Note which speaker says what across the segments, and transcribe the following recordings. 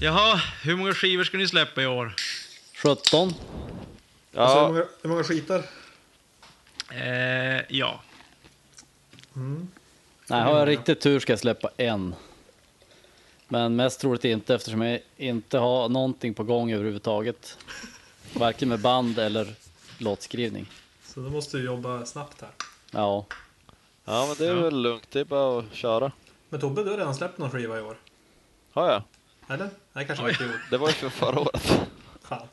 Speaker 1: Jaha, hur många skivor ska ni släppa i år?
Speaker 2: 17.
Speaker 3: Alltså, hur,
Speaker 4: Ja,
Speaker 3: många, hur många skitar?
Speaker 1: Eh, ja.
Speaker 2: Nej,
Speaker 1: Mm.
Speaker 2: har jag riktigt tur ska jag släppa en. Men mest troligt inte eftersom jag inte har någonting på gång överhuvudtaget. Varken med band eller låtskrivning.
Speaker 3: Så du måste ju jobba snabbt här.
Speaker 2: Ja,
Speaker 4: ja men det är väl lugnt. Det är bara att köra.
Speaker 3: Men Tobbe, du har redan släppt någon skiva i år.
Speaker 4: Har jag?
Speaker 3: Eller? Nej, kanske inte i år.
Speaker 4: Det var ju för förra året.
Speaker 3: Fan.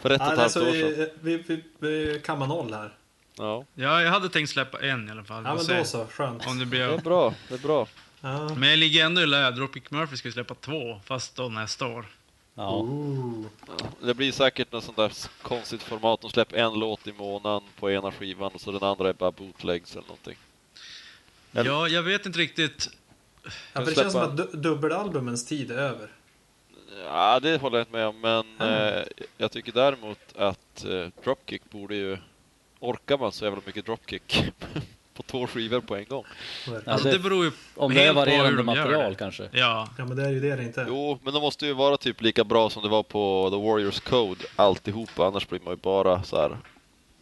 Speaker 4: För ett och
Speaker 3: Nej,
Speaker 4: ett
Speaker 3: nej,
Speaker 4: halvt
Speaker 3: så
Speaker 4: år sedan.
Speaker 3: vi, vi, vi, vi kammar noll här.
Speaker 4: Ja,
Speaker 1: Ja, jag hade tänkt släppa en i alla fall.
Speaker 3: Ja,
Speaker 1: Vi
Speaker 3: men
Speaker 1: får
Speaker 3: då
Speaker 1: se
Speaker 3: så. Skönt.
Speaker 1: Om det
Speaker 4: det
Speaker 1: blir...
Speaker 4: är bra. Det är bra.
Speaker 3: Ja.
Speaker 1: Men jag ligger ändå i lä. Dropkick Murphy ska ju släppa två, fast då nästa år. Mm.
Speaker 2: ja.
Speaker 3: Ooh.
Speaker 4: Det blir säkert något sånt där konstigt format. De släpper en låt i månaden på ena skivan och så den andra är bara bootlegs eller någonting. Eller-
Speaker 1: Ja, jag vet inte riktigt.
Speaker 3: Ja, för det
Speaker 4: Släppa-
Speaker 3: känns som att du- dubbelalbumens tid är över.
Speaker 4: Ja, det håller jag inte med om, men eh, jag tycker däremot att eh, Dropkick borde ju... Orkar man så jävla mycket Dropkick på två skivor på en gång?
Speaker 2: Ja,
Speaker 1: Alltså,
Speaker 2: det-
Speaker 1: det beror ju
Speaker 2: Om det
Speaker 1: helt
Speaker 2: är
Speaker 1: på hur
Speaker 2: varierande
Speaker 1: de gör
Speaker 2: material
Speaker 1: det.
Speaker 2: kanske.
Speaker 1: Ja,
Speaker 3: Ja, men det är ju det det inte är.
Speaker 4: Jo, men de måste ju vara typ lika bra som det var på The Warriors Code alltihopa, annars blir man ju bara så här.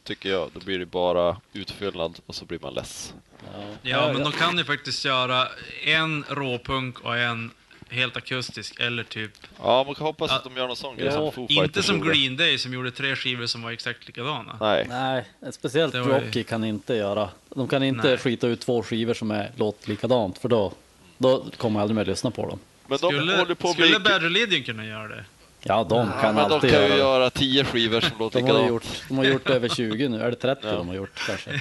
Speaker 4: Tycker jag, då blir det bara utfyllnad och så blir man less.
Speaker 2: Ja.
Speaker 1: ja, men de kan ju faktiskt göra en råpunk och en helt akustisk, eller typ...
Speaker 4: Ja, man kan hoppas
Speaker 1: Ja.
Speaker 4: att de gör någon sån grej
Speaker 2: Ja,
Speaker 4: som Foo
Speaker 1: Inte
Speaker 4: Fighters
Speaker 1: som
Speaker 4: gjorde.
Speaker 1: Green Day som gjorde tre skivor som var exakt likadana.
Speaker 4: Nej,
Speaker 2: Nej, ett speciellt
Speaker 1: Det var ju-
Speaker 2: Dropkick kan inte göra. De kan inte
Speaker 1: Nej.
Speaker 2: skita ut två skivor som är låt likadant för då, då kommer jag aldrig mer lyssna på dem.
Speaker 4: men de håller
Speaker 1: Skulle,
Speaker 4: på att
Speaker 1: skulle
Speaker 4: bli...
Speaker 1: Bad Religion kunna göra det?
Speaker 2: Ja, de
Speaker 4: Ja,
Speaker 2: kan
Speaker 4: men de
Speaker 2: alltid
Speaker 4: kan ju
Speaker 2: göra det.
Speaker 4: göra tio skivor som låter
Speaker 2: De har, ju
Speaker 4: likadant.
Speaker 2: gjort, de har gjort över 20 nu, eller 30 de har gjort kanske.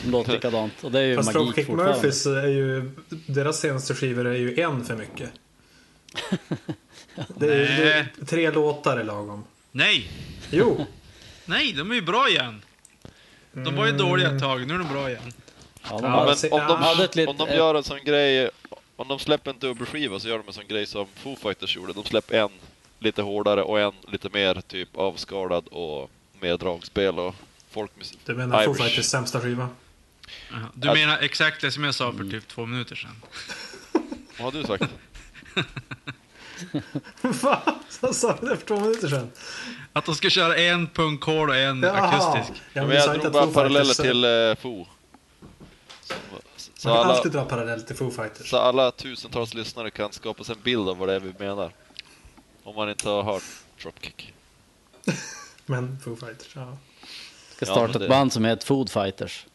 Speaker 2: Som låter likadant. Och det är ju
Speaker 3: Fast
Speaker 2: magik
Speaker 3: Dropkick
Speaker 2: fortfarande.
Speaker 3: Murphys är ju, deras senaste skivor är ju en för mycket. Det är, det är tre låtar är lagom.
Speaker 1: Nej!
Speaker 3: Jo,
Speaker 1: Nej, de är ju bra igen! De var ju dåliga ett tag, nu är de bra igen.
Speaker 2: Ja, de
Speaker 1: Ja,
Speaker 2: har,
Speaker 4: Ja, men om de,
Speaker 2: hade ett eh, lit-
Speaker 4: om de gör en sån grej, om de släpper en dubbelskiva så gör de en sån grej som Foo Fighters gjorde. De släpper en lite hårdare och en lite mer typ avskalad och mer dragspel och folkmusik.
Speaker 3: du menar Foo
Speaker 4: Irish.
Speaker 3: Fighters sämsta skiva?
Speaker 1: Jaha, Du
Speaker 4: Ja.
Speaker 1: menar exakt det som jag sa för typ två minuter sedan?
Speaker 4: Vad har du sagt?
Speaker 3: Fan, jag sa det för två minuter sedan.
Speaker 1: Att de ska köra en punkhård och en Mm, akustisk.
Speaker 3: Ja,
Speaker 4: Men
Speaker 3: men du sa
Speaker 4: jag
Speaker 3: inte
Speaker 4: drog
Speaker 3: att
Speaker 4: bara
Speaker 3: Foo
Speaker 4: paralleller
Speaker 3: Fighters...
Speaker 4: till eh, Foo. Så, så,
Speaker 3: Man kan
Speaker 4: alla,
Speaker 3: alltid dra parallell till Foo Fighters.
Speaker 4: så alla tusentals lyssnare kan skapa sig en bild av vad det är vi menar. Om man inte har hört Dropkick.
Speaker 3: Men Foo Fighters, ja.
Speaker 2: ska
Speaker 4: Ja,
Speaker 2: starta
Speaker 4: men det-
Speaker 2: ett band som heter Food Fighters.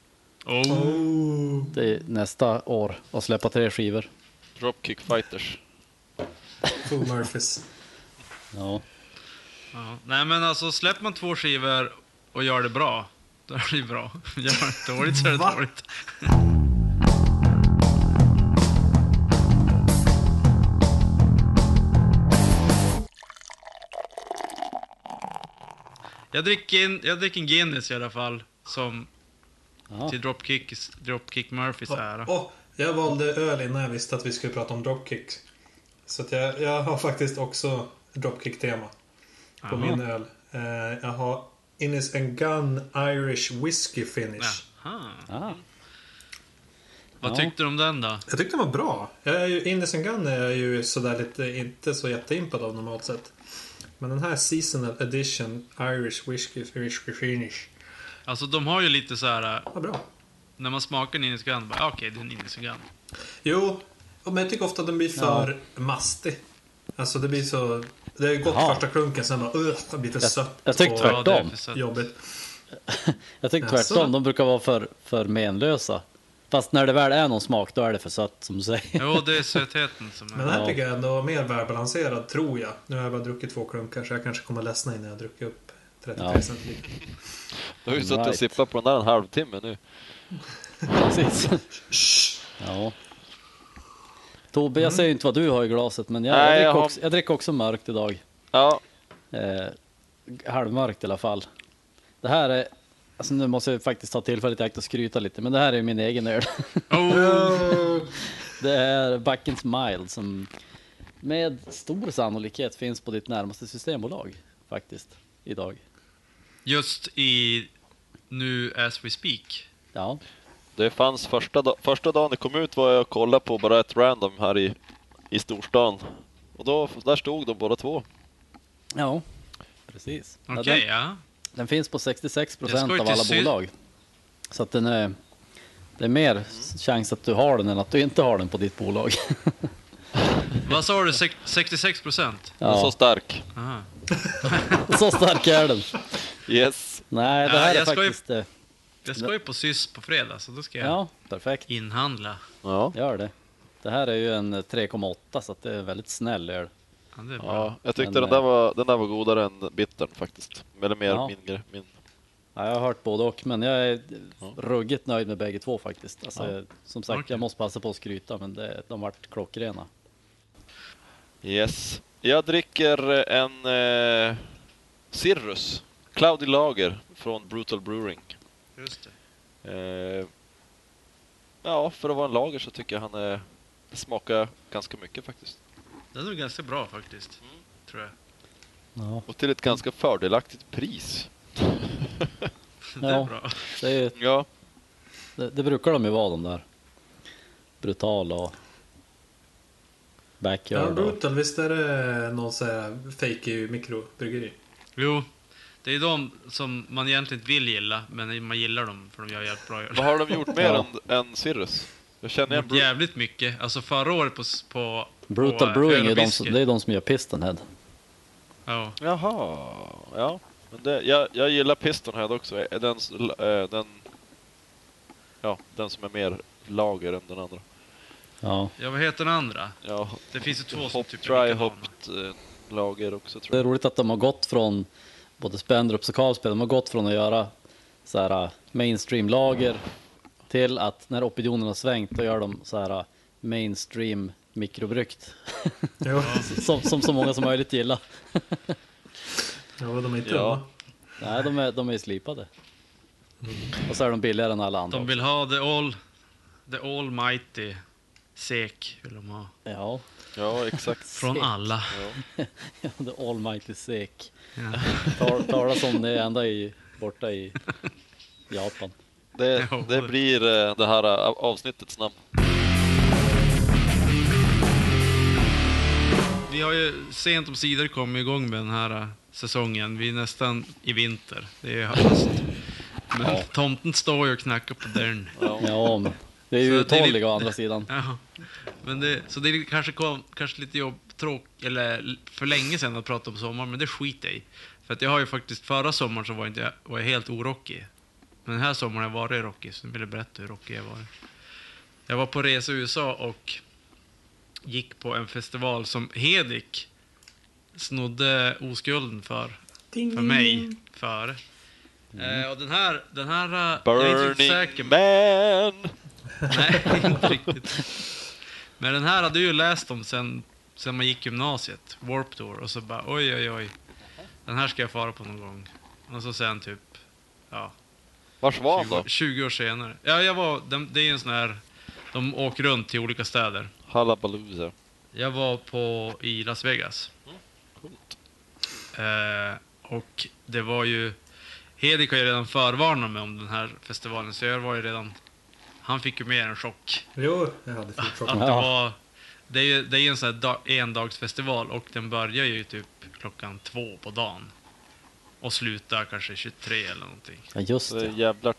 Speaker 1: Oh.
Speaker 2: Det är nästa år och släppa tre skivor.
Speaker 4: Dropkick Fighters.
Speaker 3: Foo Murphys.
Speaker 2: Ja,
Speaker 1: Ja. Nej men alltså släpper man två skivor och gör det bra, då är det ju bra. Gör man det dåligt så är det
Speaker 3: Va?
Speaker 1: dåligt. Jag dricker, en, jag dricker en Guinness i alla fall, som
Speaker 2: Ja.
Speaker 1: till Dropkick, Dropkick Murphys ära.
Speaker 3: Åh, jag valde öl innan jag visste att vi skulle prata om Dropkick. Så att jag, jag har faktiskt också Dropkick-tema på
Speaker 1: Jaha.
Speaker 3: min öl. Eh, jag har Innis and Gun Irish Whiskey Finish.
Speaker 1: Jaha.
Speaker 2: ah,
Speaker 1: Vad
Speaker 2: Ja.
Speaker 1: tyckte du om den då?
Speaker 3: Jag tyckte den var bra. Jag är ju, Innis and Gun är jag ju sådär lite, inte så jätteimpad av normalt sett. Men den här Seasonal Edition Irish Whiskey, whiskey Finish
Speaker 1: Alltså de har ju lite så här
Speaker 3: var bra.
Speaker 1: när man smakar en indisk gun, bara ah, okej det är en indisk gun.
Speaker 3: Jo, men jag tycker ofta att den blir för mastig. Alltså det blir så... Det är gott
Speaker 2: Jaha.
Speaker 3: första klunken, sen bara "Ugh, det blir för sött
Speaker 2: jag tyckte
Speaker 3: och
Speaker 2: tvärtom.
Speaker 1: det är för sött.
Speaker 3: jobbigt.
Speaker 2: jag tycker
Speaker 3: Jaså?
Speaker 2: tvärtom, de brukar vara för, för menlösa. Fast när det väl är någon smak, då är det för sött som du säger.
Speaker 1: Jo, det är sötheten som
Speaker 3: Men
Speaker 1: är...
Speaker 3: den här
Speaker 2: Ja.
Speaker 3: tycker jag ändå var mer välbalanserad, tror jag. Nu har jag bara druckit två klunkar, så jag kanske kommer ledsna innan jag har druckit upp 33
Speaker 2: Ja.
Speaker 3: centiliter.
Speaker 4: Du har ju suttit och
Speaker 2: Right.
Speaker 4: sippat på den där en halvtimme nu.
Speaker 2: Precis. Ja. Tobbe, jag säger inte vad du har i glaset, men jag,
Speaker 4: Nej,
Speaker 2: jag, dricker,
Speaker 4: jag har-
Speaker 2: också, jag dricker också mörkt idag.
Speaker 4: Ja,
Speaker 2: eh, halvmörkt i alla fall. Det här är, alltså nu måste jag faktiskt ta tillfället i akt och skryta lite, men det här är min egen öl.
Speaker 1: Oh,
Speaker 2: Det är Backens Mild som med stor sannolikhet finns på ditt närmaste systembolag faktiskt idag.
Speaker 1: just i nu as we speak.
Speaker 2: Ja,
Speaker 4: Det fanns första, da- första dagen det kom ut var jag och kollade på bara ett random här i, i storstan. Och då, där stod de båda två.
Speaker 2: ja. precis.
Speaker 1: Okej,
Speaker 2: Ja, den,
Speaker 1: ja.
Speaker 2: den finns på 66
Speaker 1: Jag ska
Speaker 2: procent
Speaker 1: ju
Speaker 2: av
Speaker 1: till
Speaker 2: alla
Speaker 1: Syd-
Speaker 2: bolag. Så att den är, det är mer chans att du har den än att du inte har den på ditt bolag.
Speaker 1: Vad sa du? Sek- 66 procent?
Speaker 4: Den är så
Speaker 2: Ja,
Speaker 4: stark.
Speaker 1: Aha.
Speaker 2: så stark är den.
Speaker 4: Yes.
Speaker 2: Nej, det
Speaker 1: Ja,
Speaker 2: här är
Speaker 1: jag ska ju-
Speaker 2: faktiskt... eh,
Speaker 1: Jag ska ju på SYS på fredag, så då ska jag
Speaker 2: Ja, perfekt.
Speaker 1: inhandla.
Speaker 4: Ja.
Speaker 2: Gör det. Det här är ju en 3,8 så att det är väldigt snäll öl.
Speaker 1: Ja, det är bra.
Speaker 4: ja. Jag tyckte
Speaker 2: Men, eh,
Speaker 4: den där, var, den där var godare än bittern faktiskt. Eller mer
Speaker 2: Ja.
Speaker 4: min grej. Min.
Speaker 2: Ja, jag har hört både och, men jag är
Speaker 4: Ja.
Speaker 2: ruggigt nöjd med bägge två faktiskt. Alltså,
Speaker 4: Ja.
Speaker 2: jag- Som sagt,
Speaker 1: Okej.
Speaker 2: jag måste passa på att skryta, men det, de vart klockrena.
Speaker 4: Yes. Jag dricker eh, en eh, Cirrus. Cloudy Lager från Brutal Brewing.
Speaker 1: Just det.
Speaker 4: Eh, ja, för att vara en lager så tycker jag han eh, smakar ganska mycket faktiskt.
Speaker 1: Den är nog ganska bra faktiskt,
Speaker 2: Mm.
Speaker 1: tror jag.
Speaker 2: Ja,
Speaker 4: Och till ett ganska fördelaktigt pris.
Speaker 1: Det är
Speaker 2: Ja.
Speaker 1: bra.
Speaker 2: det, är ju-
Speaker 4: Ja,
Speaker 2: det, det brukar de ju vara de där. Brutal och
Speaker 3: Ja,
Speaker 2: backyard. Och,
Speaker 3: Brutal, visst är det någon sån här fake mikrobryggeri?
Speaker 1: Jo, det är de som man egentligen inte vill gilla, men man gillar dem för de gör jävligt bra öl.
Speaker 4: vad har de gjort mer
Speaker 2: Ja.
Speaker 4: än, än Cirrus? Jag känner
Speaker 1: De
Speaker 4: igen
Speaker 1: har gjort
Speaker 4: Bru-
Speaker 1: jävligt mycket. Alltså förra året på... s- på
Speaker 2: brutal
Speaker 1: på,
Speaker 2: Brewing, är
Speaker 1: öl och
Speaker 2: de,
Speaker 1: whisky.
Speaker 2: som- det är de som gör Pistonhead.
Speaker 1: Ja.
Speaker 4: Jaha, ja. Men det, jag, jag gillar Pistonhead också. Eh, Den, s- l- eh, den, ja, den som är mer lager än den andra.
Speaker 2: Ja.
Speaker 1: ja, vad heter den andra?
Speaker 4: Ja,
Speaker 1: Det finns ju två som
Speaker 4: hop,
Speaker 1: typ är
Speaker 4: dry
Speaker 1: likadana.
Speaker 4: hopped eh, lager också tror
Speaker 2: Det är
Speaker 4: jag.
Speaker 2: roligt att de har gått från både Spendrups och Carlsberg, de har gått från att göra så här äh, mainstream-lager till att när opinionen har svängt då gör de så här äh, mainstream mikrobryggt.
Speaker 3: Jo,
Speaker 2: som, som så många som möjligt gillar.
Speaker 3: ja, de är inte
Speaker 4: Ja.
Speaker 3: dumma.
Speaker 2: Nej, de är, de är slipade. Och så är de billigare än alla andra.
Speaker 1: Mm. De
Speaker 2: också.
Speaker 1: vill ha the all... The almighty sek vill de ha.
Speaker 2: Ja,
Speaker 4: Ja, exakt.
Speaker 1: Från
Speaker 2: Sek.
Speaker 1: alla.
Speaker 4: Ja.
Speaker 2: the almighty sek.
Speaker 1: Ja.
Speaker 2: Tal- Talas om det ända i, borta i Japan.
Speaker 4: Det,
Speaker 1: Ja,
Speaker 4: det
Speaker 1: det-
Speaker 4: blir eh, det här eh, avsnittets namn.
Speaker 1: Vi har ju sent om sidor kommit igång med den här äh, säsongen. Vi är nästan i vinter. Det är höst. Men
Speaker 2: Ja.
Speaker 1: tomten står ju och knackar på dörren.
Speaker 4: Ja.
Speaker 2: Ja, men det
Speaker 1: Så det
Speaker 2: är ju
Speaker 1: är lite-
Speaker 2: uthålliga å andra sidan.
Speaker 1: Ja. Men det, så det är kanske, kom, kanske lite jobb, tråk, eller för länge sedan att prata om sommaren, men det skiter jag i. För att jag har ju faktiskt, förra sommaren så var jag, inte, var jag helt orockig. Men den här sommaren har jag varit rockig, så nu vill jag berätta hur rockig jag var. Jag var på resa i USA och gick på en festival som Hedik snodde oskulden för,
Speaker 3: Ding,
Speaker 1: för mig. För. Eh, och den här, den här... eh, jag är inte riktigt säker,
Speaker 4: Burning Man!
Speaker 1: Nej, inte riktigt. Men den här hade jag ju läst om sen, sen man gick gymnasiet, Warp Tour, och så bara oj, oj, oj. Den här ska jag fara på någon gång. Och så sen typ, ja,
Speaker 4: Vars var han
Speaker 1: 20,
Speaker 4: då?
Speaker 1: 20 år senare. Ja, jag var, den- det är en sån här, de åker runt till olika städer.
Speaker 4: Hallabaloo.
Speaker 1: Jag var på, i Las Vegas.
Speaker 4: Coolt.
Speaker 1: Eh, och det var ju... Hedik har ju redan förvarnat mig om den här festivalen, så jag var ju redan... Han fick ju mer en chock.
Speaker 3: Jo, jag hade fort chock.
Speaker 1: Att det
Speaker 2: Ja.
Speaker 1: var... Det är ju det är ju en sån här dag, endagsfestival och den börjar ju typ klockan två på dagen. Och slutar kanske 23 eller någonting.
Speaker 2: Ja, just
Speaker 4: Så det är
Speaker 2: det.
Speaker 4: jävlar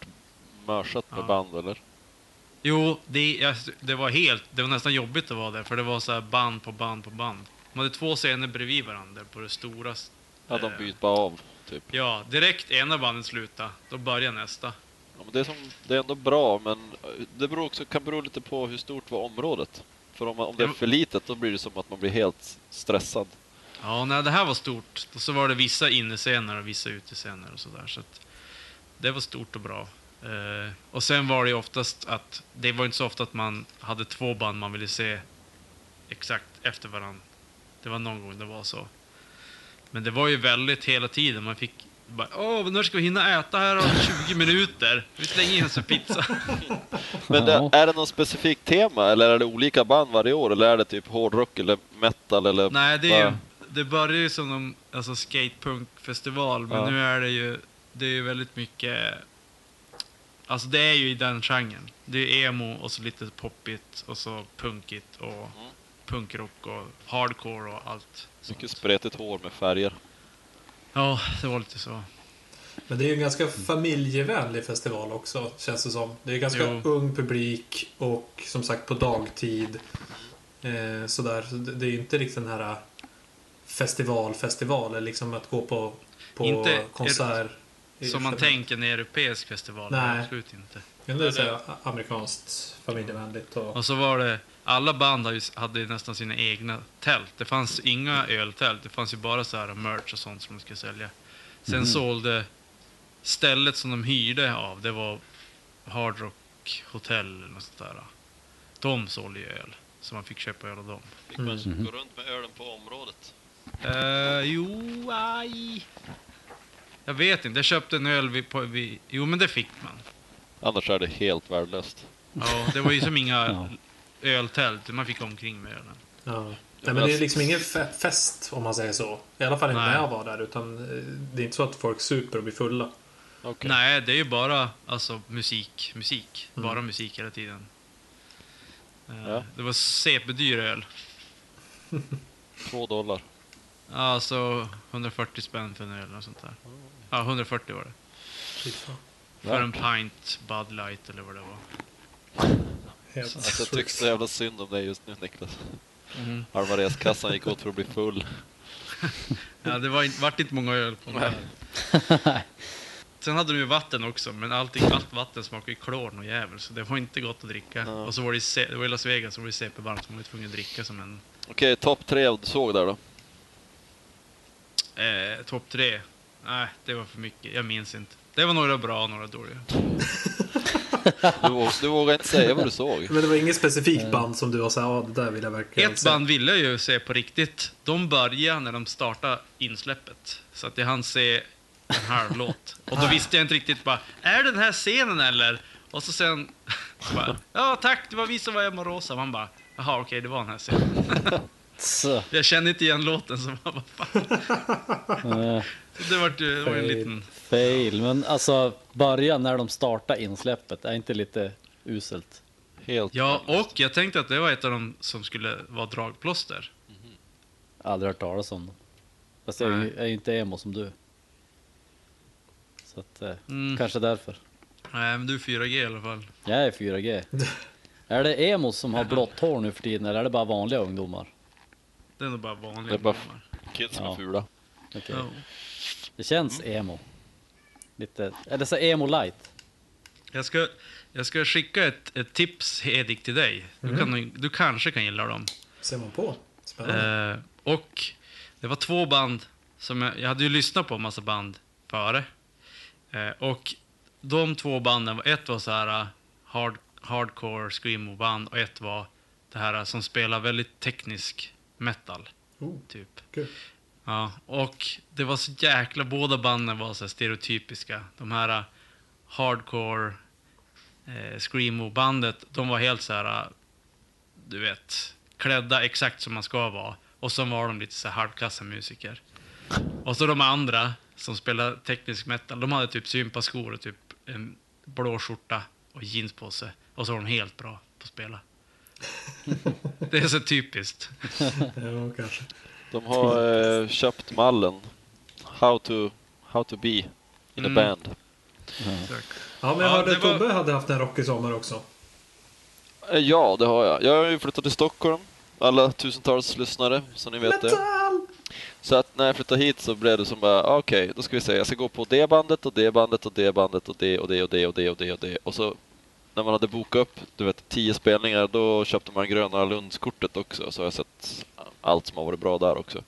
Speaker 4: mörsat med
Speaker 1: Ja.
Speaker 4: band eller?
Speaker 1: Jo, det, jag, det var helt... Det var nästan jobbigt att vara där för det var så här band på band på band. De hade två scener bredvid varandra på det stora... s-
Speaker 4: Ja, de
Speaker 1: Eh.
Speaker 4: byter bara av. Typ.
Speaker 1: Ja, direkt ena bandet slutar, då börjar nästa.
Speaker 4: Ja, men det, är som, det är ändå bra, men eh, det beror också, kan bero lite på hur stort var området. För om, man- om det är
Speaker 1: Ja.
Speaker 4: för litet, då blir det som att man blir helt stressad.
Speaker 1: Ja, nej, det här var stort. Och så var det vissa innescener och vissa utescener och sådär. Så att det var stort och bra. Eh, och sen var det ju oftast att, det var inte så ofta att man hade två band man ville se exakt efter varandra. Det var någon gång det var så. Men det var ju väldigt hela tiden. Man fick bara, åh, men nu ska vi hinna äta här om 20 minuter. Vi slänger in oss en pizza.
Speaker 4: Men det,
Speaker 2: Ja.
Speaker 4: är det något specifikt tema eller är det olika band varje år? Eller är det typ hårdrock eller metal eller?
Speaker 1: Nej, det, är ju,
Speaker 4: vad?
Speaker 1: det börjar ju som en alltså, skatepunkfestival, men
Speaker 4: Ja.
Speaker 1: nu är det ju, det är ju väldigt mycket Alltså det är ju i den genren. Det är emo och så lite poppigt och så punkigt och punkrock och hardcore och allt. sånt.
Speaker 4: Mycket spretigt hår med färger.
Speaker 1: Ja, det var lite så.
Speaker 3: Men det är ju en ganska familjevänlig festival också, känns det som. Det är ganska
Speaker 1: Jo.
Speaker 3: ung publik och som sagt på dagtid. Eh, sådär. Så det det är ju inte riktigt den här festival-festival, eller liksom att gå på, på
Speaker 1: Inte er-
Speaker 3: konsert.
Speaker 1: Som man tänker en europeisk festival.
Speaker 3: Nej.
Speaker 1: Absolut inte.
Speaker 3: Men det är så här amerikanskt familjevänligt och...
Speaker 1: Och så var det, alla band hade ju- hade ju nästan sina egna tält. Det fanns inga öltält, det fanns ju bara så här merch och sånt som de skulle sälja. Sen sålde, stället som de hyrde av, det var Hard Rock Hotel eller något sånt där. De sålde ju öl, så man fick köpa öl av dem.
Speaker 4: Fick man
Speaker 3: Mm.
Speaker 4: gå runt med ölen på området?
Speaker 1: Eh, jo, aj. Jag vet inte, jag köpte en öl vid, på, vid, jo men det fick man.
Speaker 4: Annars är det helt värdelöst.
Speaker 1: Ja, det var ju som inga
Speaker 2: Ja.
Speaker 1: öltält, man fick omkring med ölen.
Speaker 3: Ja. Nej, men det är liksom ingen fe- fest om man säger så. I alla fall inte
Speaker 1: Nej.
Speaker 3: när jag var där. Utan eh, det är inte så att folk super och blir fulla.
Speaker 4: Okej.
Speaker 1: Nej, det är ju bara alltså, musik, musik.
Speaker 3: Mm.
Speaker 1: Bara musik hela tiden. Eh,
Speaker 4: Ja.
Speaker 1: Det var CP-dyr öl.
Speaker 4: Två dollar.
Speaker 1: Alltså 140 spänn för en öl och sånt där. Ja, 140 var det. Typ För en pint Bud Light eller vad det var.
Speaker 3: Helt
Speaker 4: Alltså, jag tycker så jävla synd om dig just nu Niklas. Mm.
Speaker 1: Mhm.
Speaker 4: Alvarez-kassan gick åt för att bli full.
Speaker 1: Ja, det var, in- vart inte många öl på den där. Sen hade de ju vatten också, men allting, allt vatten smakade ju klor och jävel, så det var inte gott att dricka.
Speaker 4: Ja.
Speaker 1: Och så var det, i Se- det var i Las Vegas, så var det CP-varmt, så man var ju tvungen att dricka som en
Speaker 4: Okej, topp tre du såg där då.
Speaker 1: Eh, Topp tre? Nej, det var för mycket. Jag minns inte. Det var några bra några dåliga.
Speaker 4: Du, vå- du vågar inte säga vad du såg.
Speaker 3: Men det var inget specifikt band som du var såhär, ja det där vill jag verkligen
Speaker 1: Eh. Ett
Speaker 3: se."
Speaker 1: band ville jag ju se på riktigt. De började när de startade insläppet. Så att jag hann se en halv låt. Och då visste jag inte riktigt bara, är det den här scenen eller? Och så sen, bara, ja tack, det var vi som var Emma Rosa. Man bara, jaha okej, det var den här scenen.
Speaker 2: Så,
Speaker 1: Jag kände inte igen låten, så man bara, fan.
Speaker 2: eh,
Speaker 1: Det var, det var en liten...
Speaker 2: fail. Men alltså, börja när de startar insläppet. Är inte lite uselt?
Speaker 4: Helt
Speaker 1: Ja, och jag tänkte att det var ett av de som skulle vara dragplåster.
Speaker 2: Aldrig hört talas om dem. Fast jag är ju- jag är ju inte emo som du. Så att, eh,
Speaker 1: Mm.
Speaker 2: kanske därför.
Speaker 1: Nej, men du är 4G i alla fall.
Speaker 2: Jag är 4G. Är det emos som har blått hår nu för tiden eller är det bara vanliga ungdomar?
Speaker 1: Det är nog bara vanliga
Speaker 4: Det är bara-
Speaker 1: ungdomar.
Speaker 4: kids som är
Speaker 2: Ja.
Speaker 4: fula.
Speaker 2: Okej.
Speaker 1: Ja.
Speaker 2: Det känns emo. Lite, eller så emo light.
Speaker 1: Jag, ska, jag ska skicka ett, ett tips, Edik, till dig. Du, kan, du kanske kan gilla dem.
Speaker 3: Ser man på. Spännande.
Speaker 1: Eh, och det var två band som jag, jag hade ju lyssnat på en massa band före. Eh, och de två banden, var- ett var så här eh, hard, hardcore screamo-band och ett var det här eh, som spelar väldigt teknisk metal,
Speaker 3: Oh,
Speaker 1: typ.
Speaker 3: kul.
Speaker 1: Ja, och det var så jäkla, båda banden var så här stereotypiska. De här eh, hardcore eh, screamo-bandet, de var helt så här, eh, du vet, klädda exakt som man ska vara. Och så var de lite så här halvkassa musiker. Och så de andra som spelar teknisk metal, de hade typ sympaskor och typ en blå skjorta och jeans på sig. Och så var de helt bra på att spela. Det är så typiskt.
Speaker 3: Ja, kanske.
Speaker 4: De har eh, köpt mallen. How to, how to be in
Speaker 1: Mm.
Speaker 4: a band.
Speaker 3: Ja, men jag
Speaker 1: Ja,
Speaker 3: hörde
Speaker 1: det
Speaker 3: att
Speaker 1: var-
Speaker 3: Tobbe hade haft en rockig sommar också.
Speaker 4: Eh, Ja, det har jag. Jag har ju flyttat till Stockholm. Alla tusentals lyssnare, så ni vet det.
Speaker 3: Metal!
Speaker 4: Så att när jag flyttade hit så blev det som bara, ah, okej, då ska vi se, jag ska gå på det bandet och det bandet och det bandet och det och det och det och det och det och det. Och så när man hade bokat upp, du vet, tio spelningar, då köpte man Gröna Lundskortet också. Så har jag sett allt som har varit bra där också.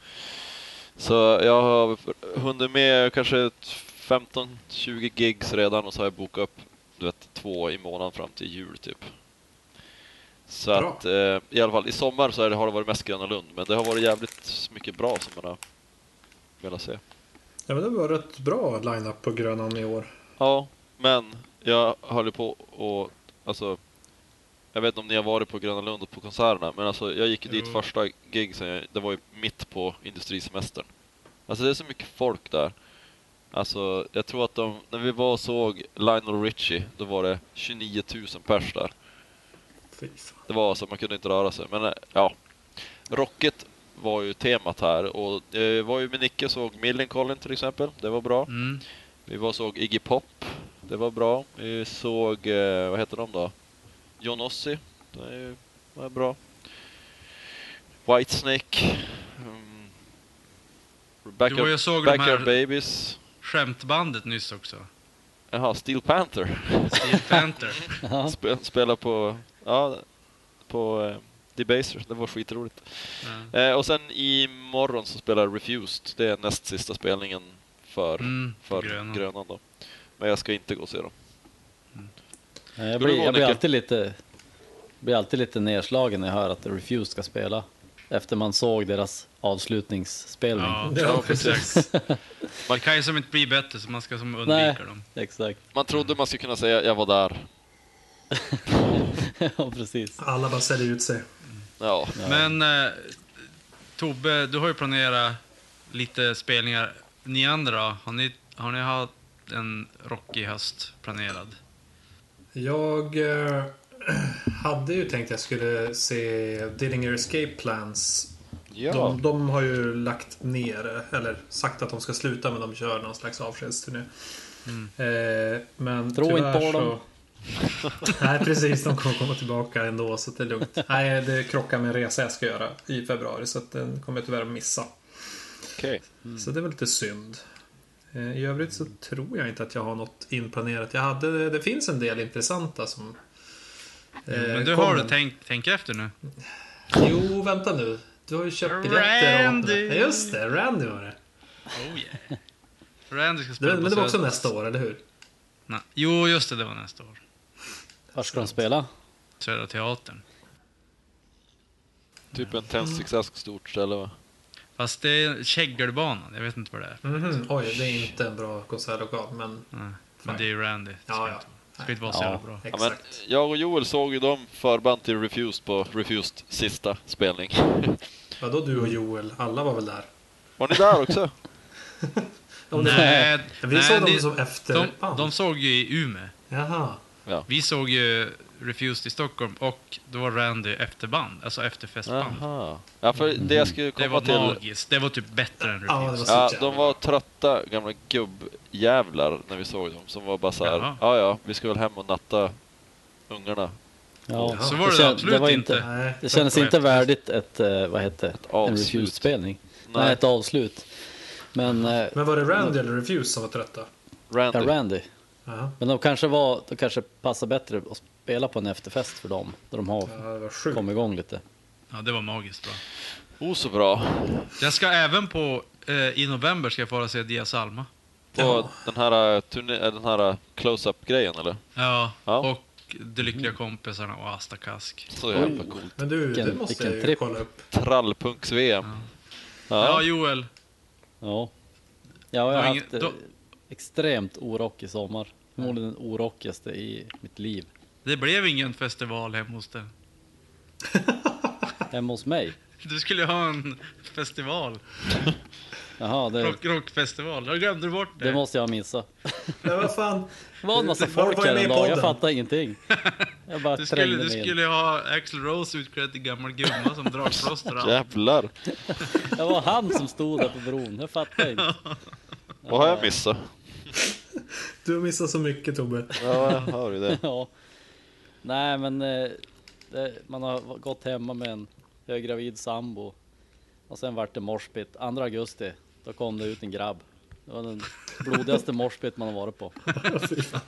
Speaker 4: Så jag har hunnit med kanske ett 15-20 gigs redan och så har jag bokat upp, du vet, två i månaden fram till jul typ. Så
Speaker 3: Bra.
Speaker 4: att eh, i alla fall i sommar så är det, har det varit mest Gröna Lund, men det har varit jävligt mycket bra som man har velat se.
Speaker 3: Ja, men det var rätt bra line-up på Grönan i år.
Speaker 4: Ja, men jag höll ju på och alltså jag vet inte om ni har varit på Gröna Lund och på konserterna, men alltså jag gick ju dit
Speaker 1: Jo.
Speaker 4: första gig sen jag, det var ju mitt på industrisemestern. Alltså det är så mycket folk där. Alltså, jag tror att de, när vi var och såg Lionel Richie, då var det 29 000 pers där.
Speaker 3: Fy fan.
Speaker 4: Det var alltså, man kunde inte röra sig. Men eh, ja, rocket var ju temat här och det var ju med Nicke och såg Millencolin till exempel. Det var bra.
Speaker 1: Mm.
Speaker 4: Vi var och såg Iggy Pop. Det var bra. Vi såg, eh, vad heter de då? John Ossie. Det är ju- var bra. Whitesnake. Mm.
Speaker 1: Du var ju
Speaker 4: Backyard,
Speaker 1: och såg de
Speaker 4: Backyard
Speaker 1: här
Speaker 4: Babies.
Speaker 1: skämtbandet nyss också.
Speaker 4: Jaha, Steel Panther.
Speaker 1: Steel Panther.
Speaker 2: Ja.
Speaker 4: Spe, spela på, ja, på eh, Debaser. Det var skitroligt.
Speaker 1: Ja.
Speaker 4: Eh, och sen imorgon så spelar Refused. Det är näst sista spelningen för,
Speaker 1: Mm,
Speaker 4: för
Speaker 1: grönan.
Speaker 4: grönan. då. Men jag ska inte gå och se dem.
Speaker 2: Nej, Jag
Speaker 4: Ska du
Speaker 2: blir,
Speaker 4: gå,
Speaker 2: jag blir
Speaker 4: Nicke?
Speaker 2: alltid lite blir alltid lite nedslagen när jag hör att Refused ska spela. Efter man såg deras avslutningsspelning.
Speaker 1: Ja,
Speaker 3: Mm. Ja,
Speaker 1: exakt. Man kan ju som inte bli bättre, så man ska som undvika
Speaker 2: Nej,
Speaker 1: dem.
Speaker 2: exakt.
Speaker 4: Man trodde man skulle kunna säga jag var där.
Speaker 2: ja, precis.
Speaker 3: Alla bara säljer ut sig.
Speaker 4: Ja,
Speaker 1: Men eh, Tobbe, du har ju planerat lite spelningar. Ni andra, har ni, har ni haft en rockig höst planerad?
Speaker 3: Jag eh, hade ju tänkt jag skulle se Dillinger Escape Plans
Speaker 4: ja.
Speaker 3: De, de har ju lagt ner, det, eller sagt att de ska sluta men de kör någon slags avskedsturné. Eh, men
Speaker 2: Tro
Speaker 3: tyvärr
Speaker 2: inte Mm. på dem.
Speaker 3: Så... Nej precis, de kommer komma tillbaka ändå så det är lugnt. Nej, det krockar med en resa jag ska göra i februari så att den kommer jag tyvärr att missa.
Speaker 4: okej.
Speaker 3: Så det var lite synd. Eh, I övrigt så tror jag inte att jag har något inplanerat. Jag hade, det finns en del intressanta som eh,
Speaker 1: Men du har
Speaker 3: kommer.
Speaker 1: du tänkt, tänk efter nu.
Speaker 3: Jo, vänta nu. Du har ju köpt biljetter. och-
Speaker 1: Randy.
Speaker 3: Just det, Randy var det.
Speaker 1: Oh yeah. Randy ska
Speaker 3: Det,
Speaker 1: spela
Speaker 3: men
Speaker 1: på
Speaker 3: det var också
Speaker 1: Söder.
Speaker 3: nästa år, eller hur?
Speaker 1: Nej. Jo, just det, det var nästa år.
Speaker 2: Var ska de spela?
Speaker 1: Södra Teatern.
Speaker 4: Typ en
Speaker 1: Mm.
Speaker 4: tändsticksask stort ställe va?
Speaker 1: Fast det är Käggelbanan, jag vet inte vad det är.
Speaker 3: Mhm, Oj, det är inte en bra konsertlokal, men
Speaker 1: Nej. Men det är ju Randy. Det ska,
Speaker 3: Ja,
Speaker 1: inte,
Speaker 3: ja.
Speaker 1: det ska inte vara så
Speaker 2: Ja.
Speaker 1: jävla bra.
Speaker 4: Ja, men
Speaker 3: exakt.
Speaker 4: jag och Joel såg ju dem förband till Refused på Refused sista spelning.
Speaker 3: Vadå du och Joel? Alla var väl där?
Speaker 4: Var ni där också?
Speaker 1: Nej,
Speaker 3: Vi
Speaker 1: nej,
Speaker 3: såg dem
Speaker 1: det-
Speaker 3: som
Speaker 1: de,
Speaker 3: efterband.
Speaker 1: de såg ju i Umeå.
Speaker 3: Jaha.
Speaker 1: Vi såg ju Refused i Stockholm och då var Randy efterband, alltså efterfestband.
Speaker 4: Aha. Ja, för det jag skulle
Speaker 1: Det
Speaker 4: komma
Speaker 1: var
Speaker 4: till
Speaker 1: magiskt. Det var typ bättre än
Speaker 3: Ja, det var
Speaker 1: Refused.
Speaker 3: så
Speaker 4: Ja,
Speaker 3: jävla
Speaker 4: de var trötta gamla gubbjävlar när vi såg dem som var bara så
Speaker 1: Jaha.
Speaker 4: här. ja ja, vi ska väl hem och natta ungarna.
Speaker 2: Ja.
Speaker 1: Så var det,
Speaker 2: kän-
Speaker 1: absolut
Speaker 2: var
Speaker 1: inte.
Speaker 3: Nej,
Speaker 2: Det kändes
Speaker 1: Tack.
Speaker 2: inte värdigt ett, eh, vad hette det? En
Speaker 4: avslut.
Speaker 2: Refused-spelning. Nej.
Speaker 4: Nej.
Speaker 2: ett avslut. Men eh,
Speaker 3: Men var det Randy eller Refuse som var trötta?
Speaker 4: Randy.
Speaker 2: ja, Randy.
Speaker 3: Jaha.
Speaker 2: Men de kanske var, de kanske passar bättre att spela på en efterfest för dem. Där de har
Speaker 3: Ja, det var sjukt.
Speaker 2: kommit igång lite.
Speaker 1: Ja, det var magiskt bra.
Speaker 4: Oh så bra.
Speaker 1: Jag ska även på, eh, i november ska jag fara och se Dia Salma.
Speaker 4: På
Speaker 3: Ja.
Speaker 4: den här, eh, turné, eh, den här eh, close-up-grejen eller?
Speaker 1: Ja,
Speaker 4: Ja.
Speaker 1: och De lyckliga kompisarna och Asta Kask.
Speaker 4: Så jävla coolt.
Speaker 3: Men du, det
Speaker 2: Vilken-
Speaker 3: måste
Speaker 2: vilken
Speaker 3: jag ju
Speaker 2: tripp.
Speaker 3: kolla upp.
Speaker 4: Trallpunks-VM.
Speaker 1: Ja,
Speaker 4: Ja.
Speaker 1: Joel.
Speaker 2: Ja. Jag har
Speaker 1: Det var
Speaker 2: haft
Speaker 1: ingen-
Speaker 2: eh,
Speaker 1: då-
Speaker 2: extremt orockig sommar. Förmodligen den orockigaste i mitt liv.
Speaker 1: Det blev ingen festival hemma hos dig.
Speaker 2: Hemma hos mig.
Speaker 1: Du skulle ju ha en festival.
Speaker 2: Jaha, det,
Speaker 1: Rock, rockfestival. Jag glömde du bort det.
Speaker 2: det måste jag missa.
Speaker 3: Men vad fan.
Speaker 2: Det var en massa
Speaker 3: Var- var
Speaker 2: folk
Speaker 3: jag
Speaker 2: här
Speaker 3: med i
Speaker 2: en dag, jag
Speaker 3: podden?
Speaker 2: fattade ingenting. Jag bara
Speaker 1: Du skulle,
Speaker 2: trängde
Speaker 1: du
Speaker 2: mig in.
Speaker 1: skulle ha Axl Rose utklädd till gammal gumma som dragplåster. och allt.
Speaker 4: Jävlar.
Speaker 2: Det var han som stod där på bron, jag fattar inte.
Speaker 4: Vad har jag missat?
Speaker 3: Du har missat så mycket Tobbe.
Speaker 4: Ja, jag hör ju det.
Speaker 2: Ja. Nej men eh, det, man har gått hemma med en höggravid sambo och sen vart det morsbit. 2 augusti, då kom det ut en grabb. Det var den blodigaste morsbit man har varit på.